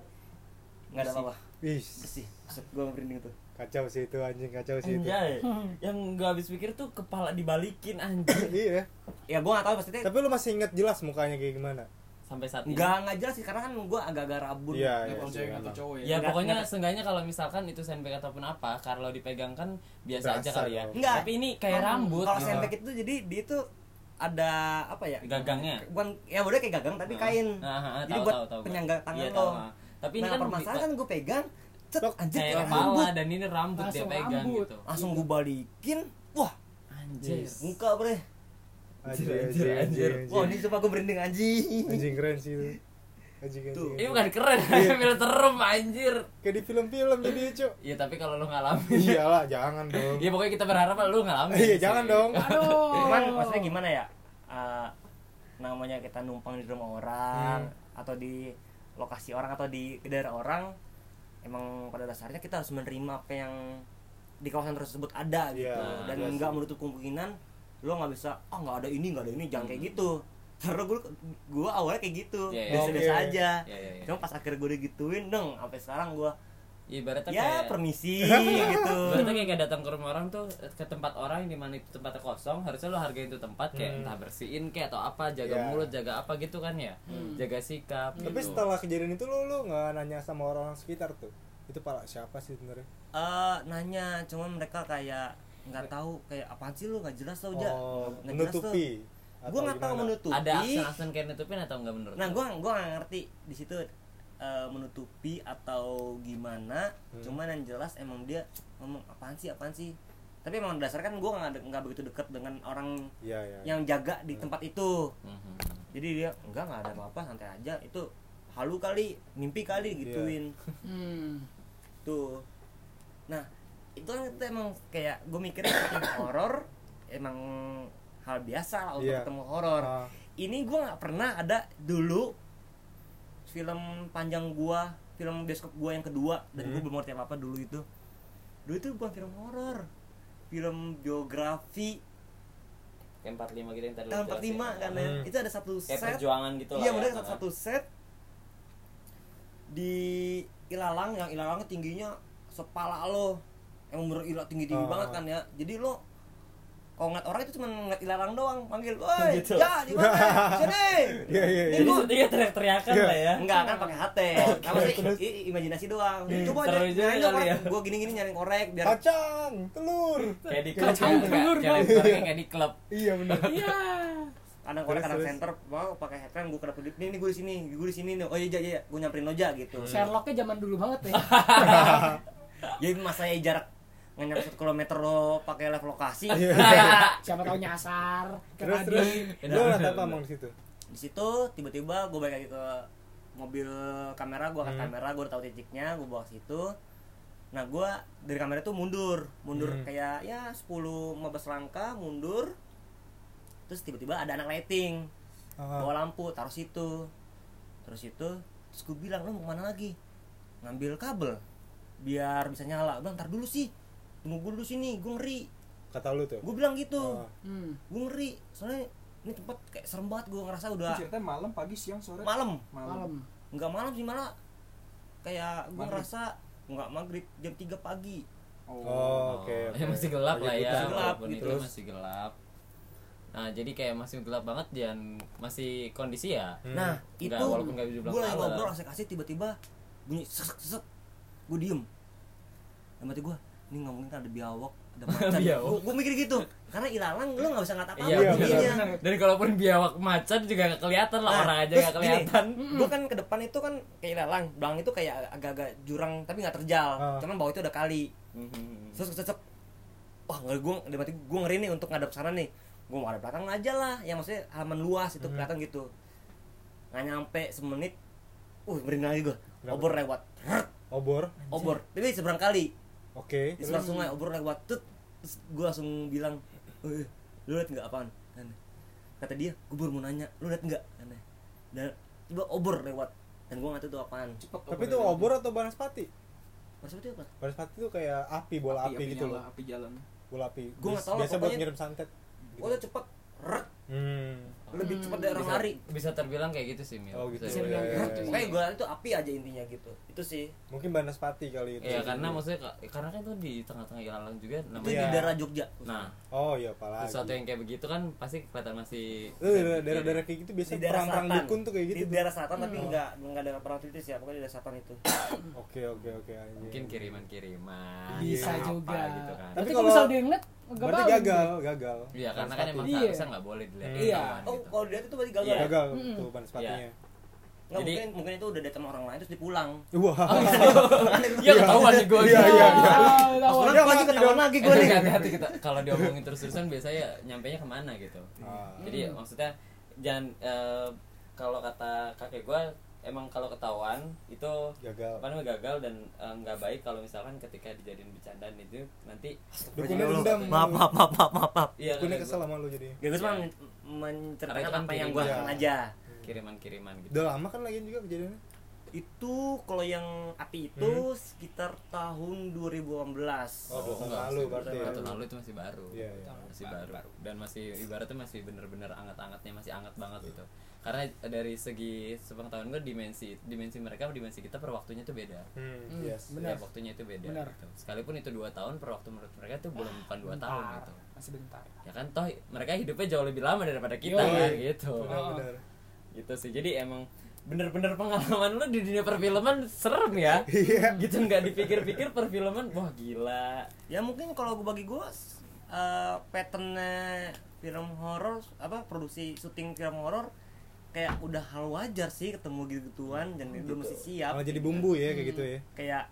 Speaker 5: nggak ada apa-apa
Speaker 1: Ih,
Speaker 5: bersih gue merinding tuh
Speaker 1: kacau sih itu anjing, kacau sih itu.
Speaker 4: Anjay, yang gak habis pikir tuh kepala dibalikin anjing
Speaker 1: Iya.
Speaker 5: ya gue nggak tahu maksudnya
Speaker 1: Tapi lu masih inget jelas mukanya kayak gimana?
Speaker 4: sampai saat ini.
Speaker 5: nggak nggak jelas sih karena kan gue agak-agak rabun
Speaker 1: Iya,
Speaker 2: Level cewek
Speaker 1: iya.
Speaker 2: atau cowok ya.
Speaker 4: Ya
Speaker 5: Nggak-
Speaker 4: pokoknya
Speaker 5: nggak-
Speaker 4: seenggaknya kalau misalkan itu sandbag ataupun apa, kalau dipegang kan biasa aja
Speaker 1: Berasa
Speaker 4: kali ya.
Speaker 1: dong.
Speaker 5: Nggak.
Speaker 4: Tapi ini kayak rambut.
Speaker 5: kalau
Speaker 4: gitu.
Speaker 5: sandbag itu jadi dia itu ada apa ya
Speaker 4: Gagangnya.
Speaker 5: bukan ya udah kayak gagang tapi kain
Speaker 4: Ah, ah, ah,
Speaker 5: jadi
Speaker 4: tahu,
Speaker 5: buat
Speaker 4: tahu, tahu,
Speaker 5: penyangga
Speaker 4: Iya,
Speaker 5: tangan
Speaker 4: tahu,
Speaker 5: lo
Speaker 4: ah. Tapi ini
Speaker 5: nah
Speaker 4: kan
Speaker 5: permasalahan gue pegang cet
Speaker 1: Loh,
Speaker 5: anjir
Speaker 4: kayak
Speaker 5: kayak
Speaker 4: kepala
Speaker 5: rambut
Speaker 4: dan ini rambut dia
Speaker 3: Langsung
Speaker 4: pegang
Speaker 3: rambut.
Speaker 4: gitu.
Speaker 5: langsung gue balikin wah
Speaker 4: Anjir.
Speaker 5: muka bre
Speaker 1: Anjir,
Speaker 4: Anjir,
Speaker 1: anjir, anjir.
Speaker 5: wah ini
Speaker 1: Anjing
Speaker 5: coba gue merinding anjing
Speaker 1: Anjing keren sih itu. Anjing
Speaker 5: Tuh.
Speaker 1: anjing.
Speaker 4: Ini bukan keren, mirip terem anjir.
Speaker 1: Kayak di film-film jadi, Cuk.
Speaker 4: Ya tapi kalau lu ngalamin.
Speaker 1: Iyalah, jangan dong.
Speaker 5: Iya,
Speaker 4: Ya pokoknya kita berharap lu ngalamin.
Speaker 1: Iya,
Speaker 4: sih.
Speaker 1: jangan dong.
Speaker 3: Aduh.
Speaker 5: cuman
Speaker 1: Oh.
Speaker 5: maksudnya gimana ya Eh, namanya kita numpang di rumah orang
Speaker 1: Hmm.
Speaker 5: atau di lokasi orang atau di daerah orang emang pada dasarnya kita harus menerima apa yang di kawasan tersebut ada gitu
Speaker 1: Iya,
Speaker 5: dan
Speaker 1: iya
Speaker 5: nggak
Speaker 1: sih.
Speaker 5: menutup kemungkinan lo nggak bisa ah nggak ada ini nggak ada ini jangan kayak
Speaker 1: Hmm.
Speaker 5: gitu karena gue gue awalnya kayak gitu
Speaker 4: Iya, iya.
Speaker 5: biasa-biasa
Speaker 1: Oke.
Speaker 5: aja
Speaker 4: Iya, iya, iya.
Speaker 5: cuma pas akhir gue digituin dong sampai sekarang gue
Speaker 4: Ibaratnya
Speaker 5: ya
Speaker 4: kayak
Speaker 5: permisi gitu
Speaker 4: Berarti kayak gak datang ke rumah orang tuh ke tempat orang yang dimana itu tempatnya kosong harusnya lo hargain tuh tempat kayak entah bersihin kayak atau apa jaga
Speaker 1: Hmm. Iya.
Speaker 4: mulut jaga apa
Speaker 5: Hmm.
Speaker 4: gitu kan ya jaga sikap
Speaker 1: Tapi
Speaker 4: gitu.
Speaker 1: setelah kejadian itu lu lu nggak nanya sama orang sekitar tuh. itu pala siapa sih sebenarnya
Speaker 5: Eh, nanya cuman mereka kayak nggak tahu kayak apaan sih lu nggak jelas tau aja
Speaker 1: Oh,
Speaker 5: nggak jelas tuh.
Speaker 1: menutupi
Speaker 5: gue nggak tahu menutupi
Speaker 4: ada aksen-aksen kayak nutupin atau enggak menurut
Speaker 5: nah
Speaker 4: lu?
Speaker 5: gue gua nggak ngerti di situ eh, menutupi atau gimana
Speaker 1: Hmm.
Speaker 5: cuman yang jelas emang dia ngomong apaan sih apaan sih tapi emang berdasarkan gue nggak nggak begitu deket dengan orang
Speaker 1: Iya, iya.
Speaker 5: yang jaga di tempat itu
Speaker 4: Mhm.
Speaker 5: jadi dia enggak nggak ada apa-apa santai aja itu halu kali mimpi kali
Speaker 1: Iya.
Speaker 5: gituin
Speaker 3: Hmm.
Speaker 5: tuh nah itu kan itu emang kayak gue mikirnya film horor emang hal biasa lah untuk
Speaker 1: Iya.
Speaker 5: ketemu horor
Speaker 1: Ah.
Speaker 5: ini gue nggak pernah ada dulu film panjang gue film bioskop gue yang kedua dan gue
Speaker 1: Hmm.
Speaker 5: belum ngerti apa apa dulu itu dulu itu bukan film horor film biografi
Speaker 6: Kayak 45 gitu yang tadi lu
Speaker 5: tahun 45
Speaker 6: jelasin.
Speaker 5: kan ya.
Speaker 1: Hmm.
Speaker 5: itu ada satu
Speaker 6: Kayak
Speaker 5: set
Speaker 6: perjuangan gitu lah
Speaker 5: iya
Speaker 6: ya,
Speaker 5: bener
Speaker 6: kan?
Speaker 5: satu, satu set di ilalang yang ilalang tingginya sepala lo emang bener ilah tinggi tinggi
Speaker 6: Oh.
Speaker 1: Ah.
Speaker 5: banget kan ya jadi lo kalau ngeliat orang itu cuma ngeliat ilalang doang panggil woi
Speaker 6: Gitu.
Speaker 5: ya di mana sini
Speaker 1: Iya, iya, iya.
Speaker 6: Jadi dia teriak-teriakan
Speaker 1: Iya.
Speaker 6: lah ya.
Speaker 5: enggak kan pakai HT apa sih i- i- imajinasi doang coba
Speaker 6: Iya,
Speaker 5: aja
Speaker 6: Seru juga
Speaker 5: nyari
Speaker 6: kali ya.
Speaker 5: gue gini gini nyari korek biar
Speaker 1: Kacang, telur.
Speaker 6: Kayak di
Speaker 4: Kalau
Speaker 6: kampung.
Speaker 4: enggak,
Speaker 3: telur
Speaker 4: jalan
Speaker 3: dong.
Speaker 4: keluarnya kayak di klub
Speaker 1: Iya benar.
Speaker 3: Iya.
Speaker 5: kadang korek
Speaker 1: Terus,
Speaker 5: kadang
Speaker 1: terus.
Speaker 5: center wow pakai headphone gue kedapet ini nih gue di sini gue di sini nih. oh iya iya iya gue nyamperin loja gitu
Speaker 3: Sherlocknya zaman dulu banget ya.
Speaker 5: jadi masa ya jarak nggak nyampe satu kilometer lo pakai live lokasi
Speaker 1: Iya.
Speaker 3: Siapa tahu nyasar.
Speaker 1: Terus
Speaker 3: Kayak tadi.
Speaker 1: terus. Lu
Speaker 4: Iya.
Speaker 1: ngeliat apa emang di situ?
Speaker 5: di situ tiba-tiba gue balik lagi ke mobil kamera gue angkat
Speaker 1: Hmm.
Speaker 5: kamera gue udah tahu titiknya gue bawa ke situ nah gue dari kamera tuh mundur mundur
Speaker 1: Hmm.
Speaker 5: kayak ya 10-15 langkah mundur terus tiba-tiba ada anak lighting
Speaker 1: Ah.
Speaker 5: bawa lampu taruh situ terus itu terus gue bilang lo mau kemana lagi ngambil kabel biar bisa nyala bang ntar dulu sih tunggu gue dulu sini gue ngeri
Speaker 1: Kata lu tuh.
Speaker 5: gue bilang gitu
Speaker 1: Ah.
Speaker 3: Hmm.
Speaker 5: gue ngeri soalnya ini tempat kayak serem banget gue ngerasa udah
Speaker 4: Iya.
Speaker 2: Cerita malam, pagi, siang, sore.
Speaker 5: malam
Speaker 3: Malam.
Speaker 5: nggak malam sih malah kayak gue
Speaker 2: Maghrib.
Speaker 5: ngerasa nggak maghrib jam 3 pagi
Speaker 2: Oh.
Speaker 1: Oh, oke.
Speaker 4: Oh,
Speaker 1: oke.
Speaker 4: ya masih gelap lah ya
Speaker 1: Lagi
Speaker 5: gelap,
Speaker 4: walaupun
Speaker 5: gitu.
Speaker 4: itu masih gelap nah jadi kayak masih gelap banget dan masih kondisi ya
Speaker 1: Hmm.
Speaker 5: nah
Speaker 4: Nggak,
Speaker 5: itu
Speaker 4: walaupun nggak bisa dibilang
Speaker 5: gue lagi
Speaker 4: malam.
Speaker 5: ngobrol asik-asik tiba-tiba bunyi sesek sesek gue diem dan mati gue ini nggak mungkin kan ada biawak ada macan
Speaker 4: Biawak.
Speaker 5: gue mikir gitu karena ilalang lo nggak bisa ngata apa
Speaker 4: iya
Speaker 1: iya,
Speaker 4: bener.
Speaker 1: bunyinya.
Speaker 4: dan kalaupun biawak macan juga nggak kelihatan
Speaker 5: Nah,
Speaker 4: lah orang aja nggak kelihatan
Speaker 5: gue kan ke depan itu kan kayak ilalang belakang itu kayak agak-agak jurang tapi nggak terjal
Speaker 1: Ah.
Speaker 5: cuman bawah itu ada kali terus cocok wah ngeri gue dalam hati gue ngeri nih untuk ngadep sana nih gue mau ada belakang aja lah yang maksudnya halaman luas itu kelihatan gitu nggak nyampe semenit uh merinding lagi gue
Speaker 1: Kenapa?
Speaker 5: obor lewat Rrrt,
Speaker 1: Obor.
Speaker 5: obor tapi seberang kali
Speaker 1: Oke.
Speaker 5: di seberang sungai obor lewat tut terus gue langsung bilang eh lu liat nggak apaan Aneh. kata dia gue baru mau nanya lu liat nggak Aneh. dan tiba obor lewat dan gue nggak tahu itu apaan
Speaker 2: Cepet
Speaker 1: Tapi itu
Speaker 2: Iya,
Speaker 1: obor atau banaspati?
Speaker 5: maksudnya itu apa
Speaker 1: Banaspati tuh kayak api, bola api, gitu
Speaker 2: nyala,
Speaker 1: loh.
Speaker 2: Api jalan.
Speaker 1: Bola api.
Speaker 5: Gua nggak tahu lah,
Speaker 1: Biasa buat
Speaker 5: pokoknya-
Speaker 1: ngirim santet.
Speaker 5: oh itu cepet Rrrt,
Speaker 1: Hmm.
Speaker 5: lebih cepet dari orang
Speaker 4: bisa,
Speaker 5: lari
Speaker 4: bisa terbilang kayak gitu sih Mil
Speaker 1: Oh, gitu.
Speaker 4: Bisa
Speaker 3: Bisa
Speaker 4: dibilang.
Speaker 3: bilang
Speaker 1: Iya,
Speaker 3: gitu.
Speaker 1: iya,
Speaker 5: Pokoknya gue itu api aja intinya gitu. Itu sih.
Speaker 1: Mungkin banaspati kali itu.
Speaker 4: Iya karena maksudnya ka- karena kan itu di tengah-tengah ilalang juga
Speaker 5: Itu
Speaker 4: namanya
Speaker 5: di
Speaker 1: Iya.
Speaker 5: daerah Jogja.
Speaker 4: nah
Speaker 1: Oh iya, apalagi.
Speaker 4: sesuatu yang kayak begitu kan pasti kelihatan masih
Speaker 1: Lu daerah- daerah-daerah kayak gitu
Speaker 5: di
Speaker 1: biasanya
Speaker 5: daerah
Speaker 1: perang-perang
Speaker 5: selatan.
Speaker 1: dukun tuh kayak gitu.
Speaker 5: Di daerah selatan tapi enggak enggak ada perhatian ya, pokoknya di daerah selatan itu.
Speaker 4: Nah,
Speaker 1: Oke, oke, oke. iya. anjing.
Speaker 4: mungkin kiriman-kiriman
Speaker 3: Bisa
Speaker 4: Ah, apa
Speaker 3: juga.
Speaker 4: gitu kan
Speaker 1: Tapi
Speaker 3: Tapi
Speaker 1: kalau-
Speaker 3: kalau misal dia ngeliat, nggak
Speaker 1: Berarti
Speaker 3: bau.
Speaker 1: gagal, gagal.
Speaker 4: Iya karena kan
Speaker 1: Banaspati.
Speaker 4: emang
Speaker 3: Iya.
Speaker 4: seharusnya nggak boleh dilihat
Speaker 1: Hmm.
Speaker 4: ketahuan
Speaker 3: Iya.
Speaker 5: Oh,
Speaker 4: gitu.
Speaker 5: kalau dia itu berarti gagal.
Speaker 4: Iya.
Speaker 5: ya?
Speaker 1: gagal
Speaker 3: Mm-mm.
Speaker 1: tuh ban sepatunya. Iya.
Speaker 5: Enggak
Speaker 4: Jadi-
Speaker 5: mungkin mungkin itu udah datang orang lain terus dipulang.
Speaker 1: Wah.
Speaker 5: Oh,
Speaker 4: Iya ketahuan nih gue
Speaker 1: Iya, iya, iya.
Speaker 3: Tahu, tahu.
Speaker 5: Orang
Speaker 1: dia
Speaker 4: gitu.
Speaker 5: lagi
Speaker 1: mati
Speaker 5: ketahuan
Speaker 1: dong.
Speaker 5: lagi gue nih.
Speaker 4: hati-hati kita kalau diomongin terus-terusan biasanya nyampe nya kemana gitu
Speaker 1: Ah.
Speaker 3: Hmm.
Speaker 4: jadi maksudnya jangan eh, kalau kata kakek gue emang kalau ketahuan itu
Speaker 1: Gagal.
Speaker 4: apa namanya gagal dan eh, nggak baik kalau misalkan ketika dijadiin bercandaan itu nanti
Speaker 1: Dukunnya dendam.
Speaker 5: Maaf, maaf, maaf, maaf, maaf, maaf.
Speaker 4: iya
Speaker 1: Dukunnya
Speaker 4: kakek
Speaker 1: kesel
Speaker 4: gua,
Speaker 1: sama lu jadi.
Speaker 5: Ya gue cuma
Speaker 4: Iya.
Speaker 5: men- menceritakan
Speaker 4: Karena itu
Speaker 5: apa
Speaker 4: kan
Speaker 5: yang gue
Speaker 1: kirim.
Speaker 5: lakukan
Speaker 1: Iya.
Speaker 5: aja.
Speaker 4: kiriman-kiriman gitu
Speaker 1: Udah lama kan lagi juga kejadiannya.
Speaker 5: Itu kalau yang api itu sekitar tahun 2018.
Speaker 1: Hmm. Oh, dua tahun
Speaker 4: enggak,
Speaker 1: lalu
Speaker 4: masih-
Speaker 1: berarti
Speaker 4: dua
Speaker 1: ya.
Speaker 4: tahun lalu itu masih baru
Speaker 1: Iya, iya.
Speaker 4: masih baru. dan masih ibaratnya masih bener-bener anget-angetnya masih anget banget
Speaker 1: Iya.
Speaker 4: gitu karena dari segi sepengetahuan gue dimensi dimensi mereka dimensi kita per waktunya tuh beda
Speaker 1: Hmm,
Speaker 3: Hmm,
Speaker 1: yes.
Speaker 3: benar.
Speaker 4: Ya, waktunya itu beda
Speaker 3: Benar.
Speaker 4: gitu. sekalipun itu dua tahun per waktu menurut mereka itu belum bukan dua tahun
Speaker 3: Bentar.
Speaker 4: gitu
Speaker 3: Masih bentar.
Speaker 4: ya kan toh mereka hidupnya jauh lebih lama daripada kita
Speaker 1: Yoi.
Speaker 4: kan gitu
Speaker 1: Benar, benar.
Speaker 4: gitu sih jadi emang bener-bener pengalaman lu di dunia perfilman serem ya
Speaker 1: Iya.
Speaker 4: gitu nggak dipikir-pikir perfilman wah gila
Speaker 5: ya mungkin kalau gue bagi gue eh patternnya film horor apa produksi syuting film horor kayak udah hal wajar sih ketemu gitu gituan dan itu mesti siap Hmm.
Speaker 1: malah jadi bumbu ya kayak gitu ya
Speaker 5: kayak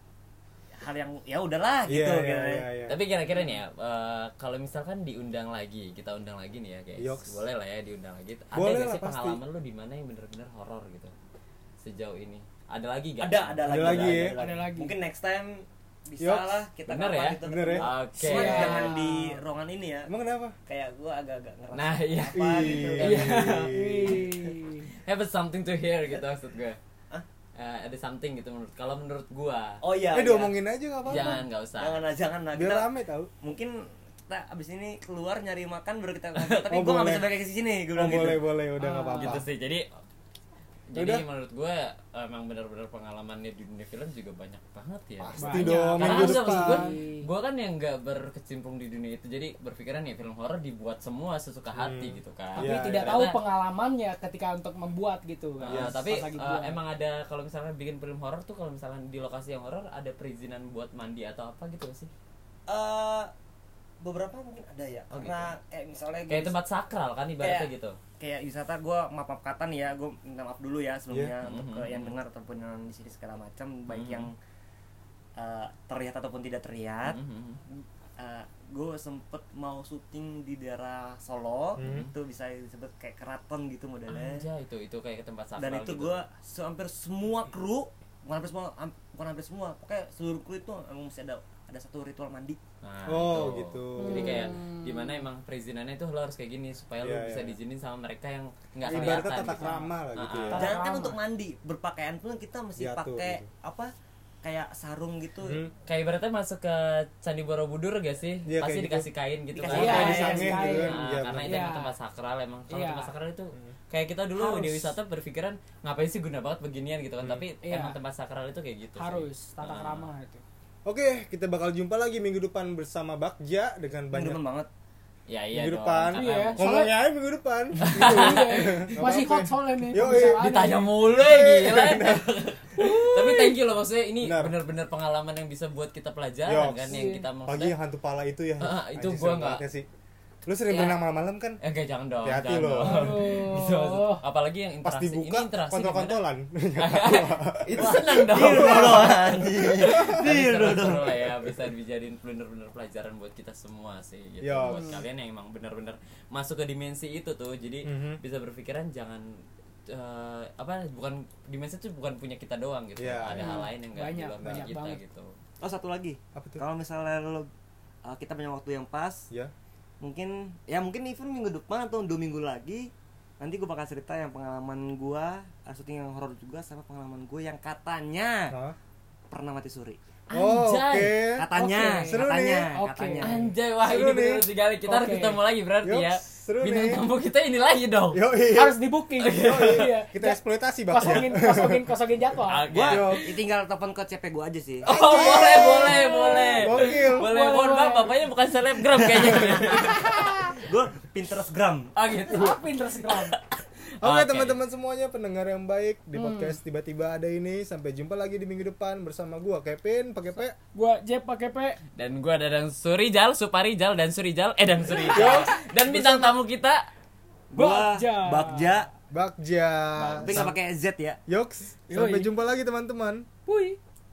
Speaker 5: hal yang ya udahlah gitu
Speaker 1: iya iya
Speaker 5: kayaknya.
Speaker 1: iya, iya
Speaker 4: tapi kira-kira nih ya eh, kalau misalkan diundang lagi kita undang lagi nih ya guys
Speaker 1: Yoks.
Speaker 4: boleh lah ya diundang lagi ada
Speaker 1: Boleh
Speaker 4: nggak
Speaker 1: lah,
Speaker 4: sih
Speaker 1: pasti.
Speaker 4: pengalaman lu di mana yang bener-bener horor gitu sejauh ini ada lagi gak?
Speaker 5: ada ada, lagi,
Speaker 1: lagi ya.
Speaker 5: ada
Speaker 3: Ada lagi.
Speaker 5: mungkin next time bisa
Speaker 1: Yoks.
Speaker 5: lah kita
Speaker 4: Bener
Speaker 5: kapan
Speaker 4: ya?
Speaker 5: gitu
Speaker 1: Bener ya?
Speaker 5: ketemu.
Speaker 4: Oke.
Speaker 5: Cuman
Speaker 3: Iya.
Speaker 5: jangan di ruangan ini ya
Speaker 1: emang kenapa
Speaker 5: kayak gue agak-agak ngerasa
Speaker 4: Nah, iya.
Speaker 5: apa gitu
Speaker 1: Ih,
Speaker 5: kan.
Speaker 4: Iya.
Speaker 3: Wih.
Speaker 4: have something to hear gitu maksud gue
Speaker 5: Hah?
Speaker 4: Eh, ada something gitu menurut kalau menurut gua
Speaker 5: oh iya
Speaker 1: eh
Speaker 5: iya.
Speaker 1: diomongin aja nggak apa-apa
Speaker 4: jangan nggak usah
Speaker 5: jangan lah jangan lah
Speaker 1: biar
Speaker 5: Kita-
Speaker 1: rame tau
Speaker 5: mungkin kita abis ini keluar nyari makan baru kita ngobrol tapi
Speaker 1: Oh,
Speaker 5: gue nggak
Speaker 1: boleh.
Speaker 5: bisa balik ke sini gue
Speaker 1: oh,
Speaker 5: bilang
Speaker 1: boleh
Speaker 5: gitu
Speaker 1: boleh udah nggak apa-apa
Speaker 4: gitu sih jadi
Speaker 1: Udah.
Speaker 4: jadi menurut gue emang benar-benar pengalamannya di dunia film juga banyak banget ya
Speaker 1: pasti
Speaker 3: Banyak.
Speaker 1: dong
Speaker 4: karena
Speaker 1: minggu
Speaker 4: udah maksud gue
Speaker 1: depan
Speaker 4: gue kan yang nggak berkecimpung di dunia itu jadi berpikiran ya film horor dibuat semua sesuka hati gitu kan
Speaker 3: tapi
Speaker 1: Iya,
Speaker 3: tidak
Speaker 1: iya.
Speaker 3: tahu
Speaker 4: Karena-
Speaker 3: pengalamannya ketika untuk membuat gitu
Speaker 4: Nah,
Speaker 3: kan. Pas
Speaker 4: tapi
Speaker 3: lagi
Speaker 4: eh,
Speaker 3: buat.
Speaker 4: emang ada kalau misalnya bikin film horor tuh kalau misalnya di lokasi yang horor ada perizinan buat mandi atau apa gitu nggak sih
Speaker 5: Eh, beberapa mungkin ada ya
Speaker 4: Oh,
Speaker 1: gitu.
Speaker 5: karena kayak misalnya gua
Speaker 4: kayak tempat sakral kan ibaratnya
Speaker 1: Iya.
Speaker 5: Kayak-
Speaker 4: gitu
Speaker 5: kayak wisata gue maaf maaf kata nih ya gue minta maaf dulu ya sebelumnya
Speaker 4: Iya.
Speaker 5: untuk ke
Speaker 1: Mm-hmm.
Speaker 4: Mhm.
Speaker 5: yang dengar ataupun yang di sini segala macam baik
Speaker 4: Mhm.
Speaker 5: yang
Speaker 1: Mm-hmm.
Speaker 5: eh, terlihat ataupun tidak terlihat
Speaker 4: Mhm.
Speaker 5: gue sempet mau syuting di daerah Solo
Speaker 1: Mhm.
Speaker 5: itu bisa disebut kayak keraton gitu modelnya
Speaker 4: Anjay, itu itu kayak tempat sakral
Speaker 5: dan itu
Speaker 4: gitu.
Speaker 5: gue hampir semua kru bukan hampir semua am- bukan hampir semua pokoknya seluruh kru itu emang mesti ada ada satu ritual mandi
Speaker 4: Nah,
Speaker 1: oh
Speaker 4: itu.
Speaker 1: gitu
Speaker 4: Jadi kayak
Speaker 3: Hmm.
Speaker 4: gimana emang perizinannya itu lo harus kayak gini supaya lo
Speaker 1: Iya,
Speaker 4: bisa
Speaker 1: iya.
Speaker 4: diizinin sama mereka yang nggak
Speaker 1: ibaratnya
Speaker 4: kelihatan.
Speaker 1: tata
Speaker 4: gitu.
Speaker 1: krama lah gitu ya
Speaker 4: Ah,
Speaker 5: jangan kan
Speaker 3: lama.
Speaker 5: untuk mandi berpakaian pun kita mesti
Speaker 1: Diatur
Speaker 5: pakai
Speaker 1: gitu.
Speaker 5: apa kayak sarung gitu
Speaker 1: Hmm.
Speaker 4: Kayak ibaratnya masuk ke Candi Borobudur gak sih?
Speaker 1: Iya,
Speaker 4: Pasti
Speaker 1: kayak
Speaker 4: dikasih kain gitu
Speaker 5: Dikasih
Speaker 4: kan.
Speaker 1: Iya,
Speaker 3: kain,
Speaker 1: di sange
Speaker 3: kain.
Speaker 1: gitu kan
Speaker 4: Nah,
Speaker 1: iya, Hmm.
Speaker 4: karena
Speaker 1: bener.
Speaker 4: itu
Speaker 3: Iya.
Speaker 4: emang tempat sakral emang kalau
Speaker 3: Iya.
Speaker 4: tempat sakral itu kayak kita dulu
Speaker 3: Harus.
Speaker 4: di wisata berpikiran ngapain sih guna banget beginian gitu
Speaker 1: Hmm.
Speaker 4: kan tapi
Speaker 3: Iya.
Speaker 4: emang tempat sakral itu kayak gitu sih.
Speaker 3: harus tata
Speaker 4: Ah.
Speaker 3: krama itu.
Speaker 1: Oke, kita bakal jumpa lagi minggu depan bersama Bagja dengan banyak
Speaker 5: Demen banget
Speaker 4: ya iya
Speaker 1: minggu
Speaker 4: dong,
Speaker 1: depan.
Speaker 4: karena
Speaker 3: Iya.
Speaker 1: Ngomongnya aja minggu depan.
Speaker 3: Iya, Masih
Speaker 1: apa-apa.
Speaker 3: hot soalnya nih.
Speaker 1: Yoi.
Speaker 3: pembicaraannya.
Speaker 4: ditanya mulu ya,
Speaker 3: Iya,
Speaker 4: gila tapi thank you loh maksudnya ini
Speaker 1: Benar.
Speaker 4: bener-bener pengalaman yang bisa buat kita pelajaran
Speaker 1: Yoks.
Speaker 4: kan yang
Speaker 3: Iya.
Speaker 4: kita
Speaker 1: Pagi
Speaker 4: maksudnya
Speaker 1: yang hantu pala itu ya.
Speaker 4: Ah, ah, itu
Speaker 1: Anjing,
Speaker 4: gua
Speaker 1: serem
Speaker 4: nggak-
Speaker 1: banget sih. Lu sering
Speaker 4: Ya.
Speaker 1: berenang malam-malam kan?
Speaker 4: eh enggak jangan dong
Speaker 1: Hati-hati
Speaker 4: jangan
Speaker 1: loh.
Speaker 4: dong. Gitu maksud-
Speaker 3: Aduh. Iya.
Speaker 4: apalagi yang
Speaker 1: Pas
Speaker 4: interaksi
Speaker 1: dibuka
Speaker 4: ini interaksi gimana?
Speaker 1: kontol-kontolan.
Speaker 4: itu seneng dong
Speaker 1: Iya.
Speaker 4: Tapi seru-seru lah ya bisa dijadiin bener-bener pelajaran buat kita semua sih gitu.
Speaker 1: Yoks.
Speaker 4: buat kalian yang emang bener-bener masuk ke dimensi itu tuh jadi
Speaker 1: Mhm.
Speaker 4: bisa berpikiran jangan eh, apa bukan dimensi itu bukan punya kita doang gitu
Speaker 1: Iya,
Speaker 4: ada
Speaker 1: iya.
Speaker 4: hal lain yang enggak
Speaker 3: Banyak,
Speaker 4: juga punya
Speaker 3: banyak
Speaker 4: kita
Speaker 3: banget.
Speaker 4: gitu
Speaker 5: oh satu lagi
Speaker 1: Apa tuh?
Speaker 5: kalau misalnya lo uh, kita punya waktu yang pas
Speaker 1: Ya.
Speaker 5: mungkin ya mungkin even minggu depan atau dua minggu lagi nanti gue bakal cerita yang pengalaman gue uh, syuting yang horor juga sama pengalaman gue yang katanya
Speaker 1: Hah?
Speaker 5: pernah mati suri
Speaker 1: Oh, oke.
Speaker 4: Anjay.
Speaker 5: katanya
Speaker 3: Oke.
Speaker 1: Seru
Speaker 5: katanya
Speaker 1: nih.
Speaker 3: Oke.
Speaker 5: katanya
Speaker 4: Anjay wah
Speaker 1: Seru
Speaker 4: ini
Speaker 1: nih.
Speaker 4: bener sekali kita harus
Speaker 3: Iya. Oke.
Speaker 4: ketemu lagi berarti
Speaker 1: Yoks,
Speaker 4: ya.
Speaker 1: seru
Speaker 4: Bintang
Speaker 1: nih.
Speaker 4: tamu kita ini lagi dong.
Speaker 1: Yo,
Speaker 3: harus di booking. Iya.
Speaker 1: kita eksploitasi
Speaker 3: Kosongin
Speaker 1: Bagja.
Speaker 3: kosongin kosongin jadwal.
Speaker 4: Oke.
Speaker 5: gue
Speaker 1: Yo.
Speaker 5: tinggal telepon ke CP gue aja sih
Speaker 4: Oh, boleh, boleh, boleh.
Speaker 1: Gokil.
Speaker 4: Boleh,
Speaker 3: Boleh,
Speaker 4: mohon
Speaker 3: boleh.
Speaker 4: maaf, bapaknya bukan selebgram kayaknya.
Speaker 5: gue Pinterest gram
Speaker 4: oh, gitu.
Speaker 3: Apa Instagram?
Speaker 1: Oke
Speaker 4: Oke. Hmm.
Speaker 1: teman-teman semuanya pendengar yang baik di podcast tiba-tiba ada ini sampai jumpa lagi di minggu depan bersama gua Kevin pakai P.
Speaker 3: Gua Jep pakai P.
Speaker 4: Dan gua ada dan Surijal, Suparijal dan Surijal, eh dan Surijal. dan bintang tamu kita
Speaker 5: gue
Speaker 3: Bagja.
Speaker 5: Bagja
Speaker 1: Bagja.
Speaker 5: tapi nggak pakai Z ya
Speaker 1: Yoks. Sampai
Speaker 3: Yoi.
Speaker 1: jumpa lagi teman-teman.
Speaker 3: Puy.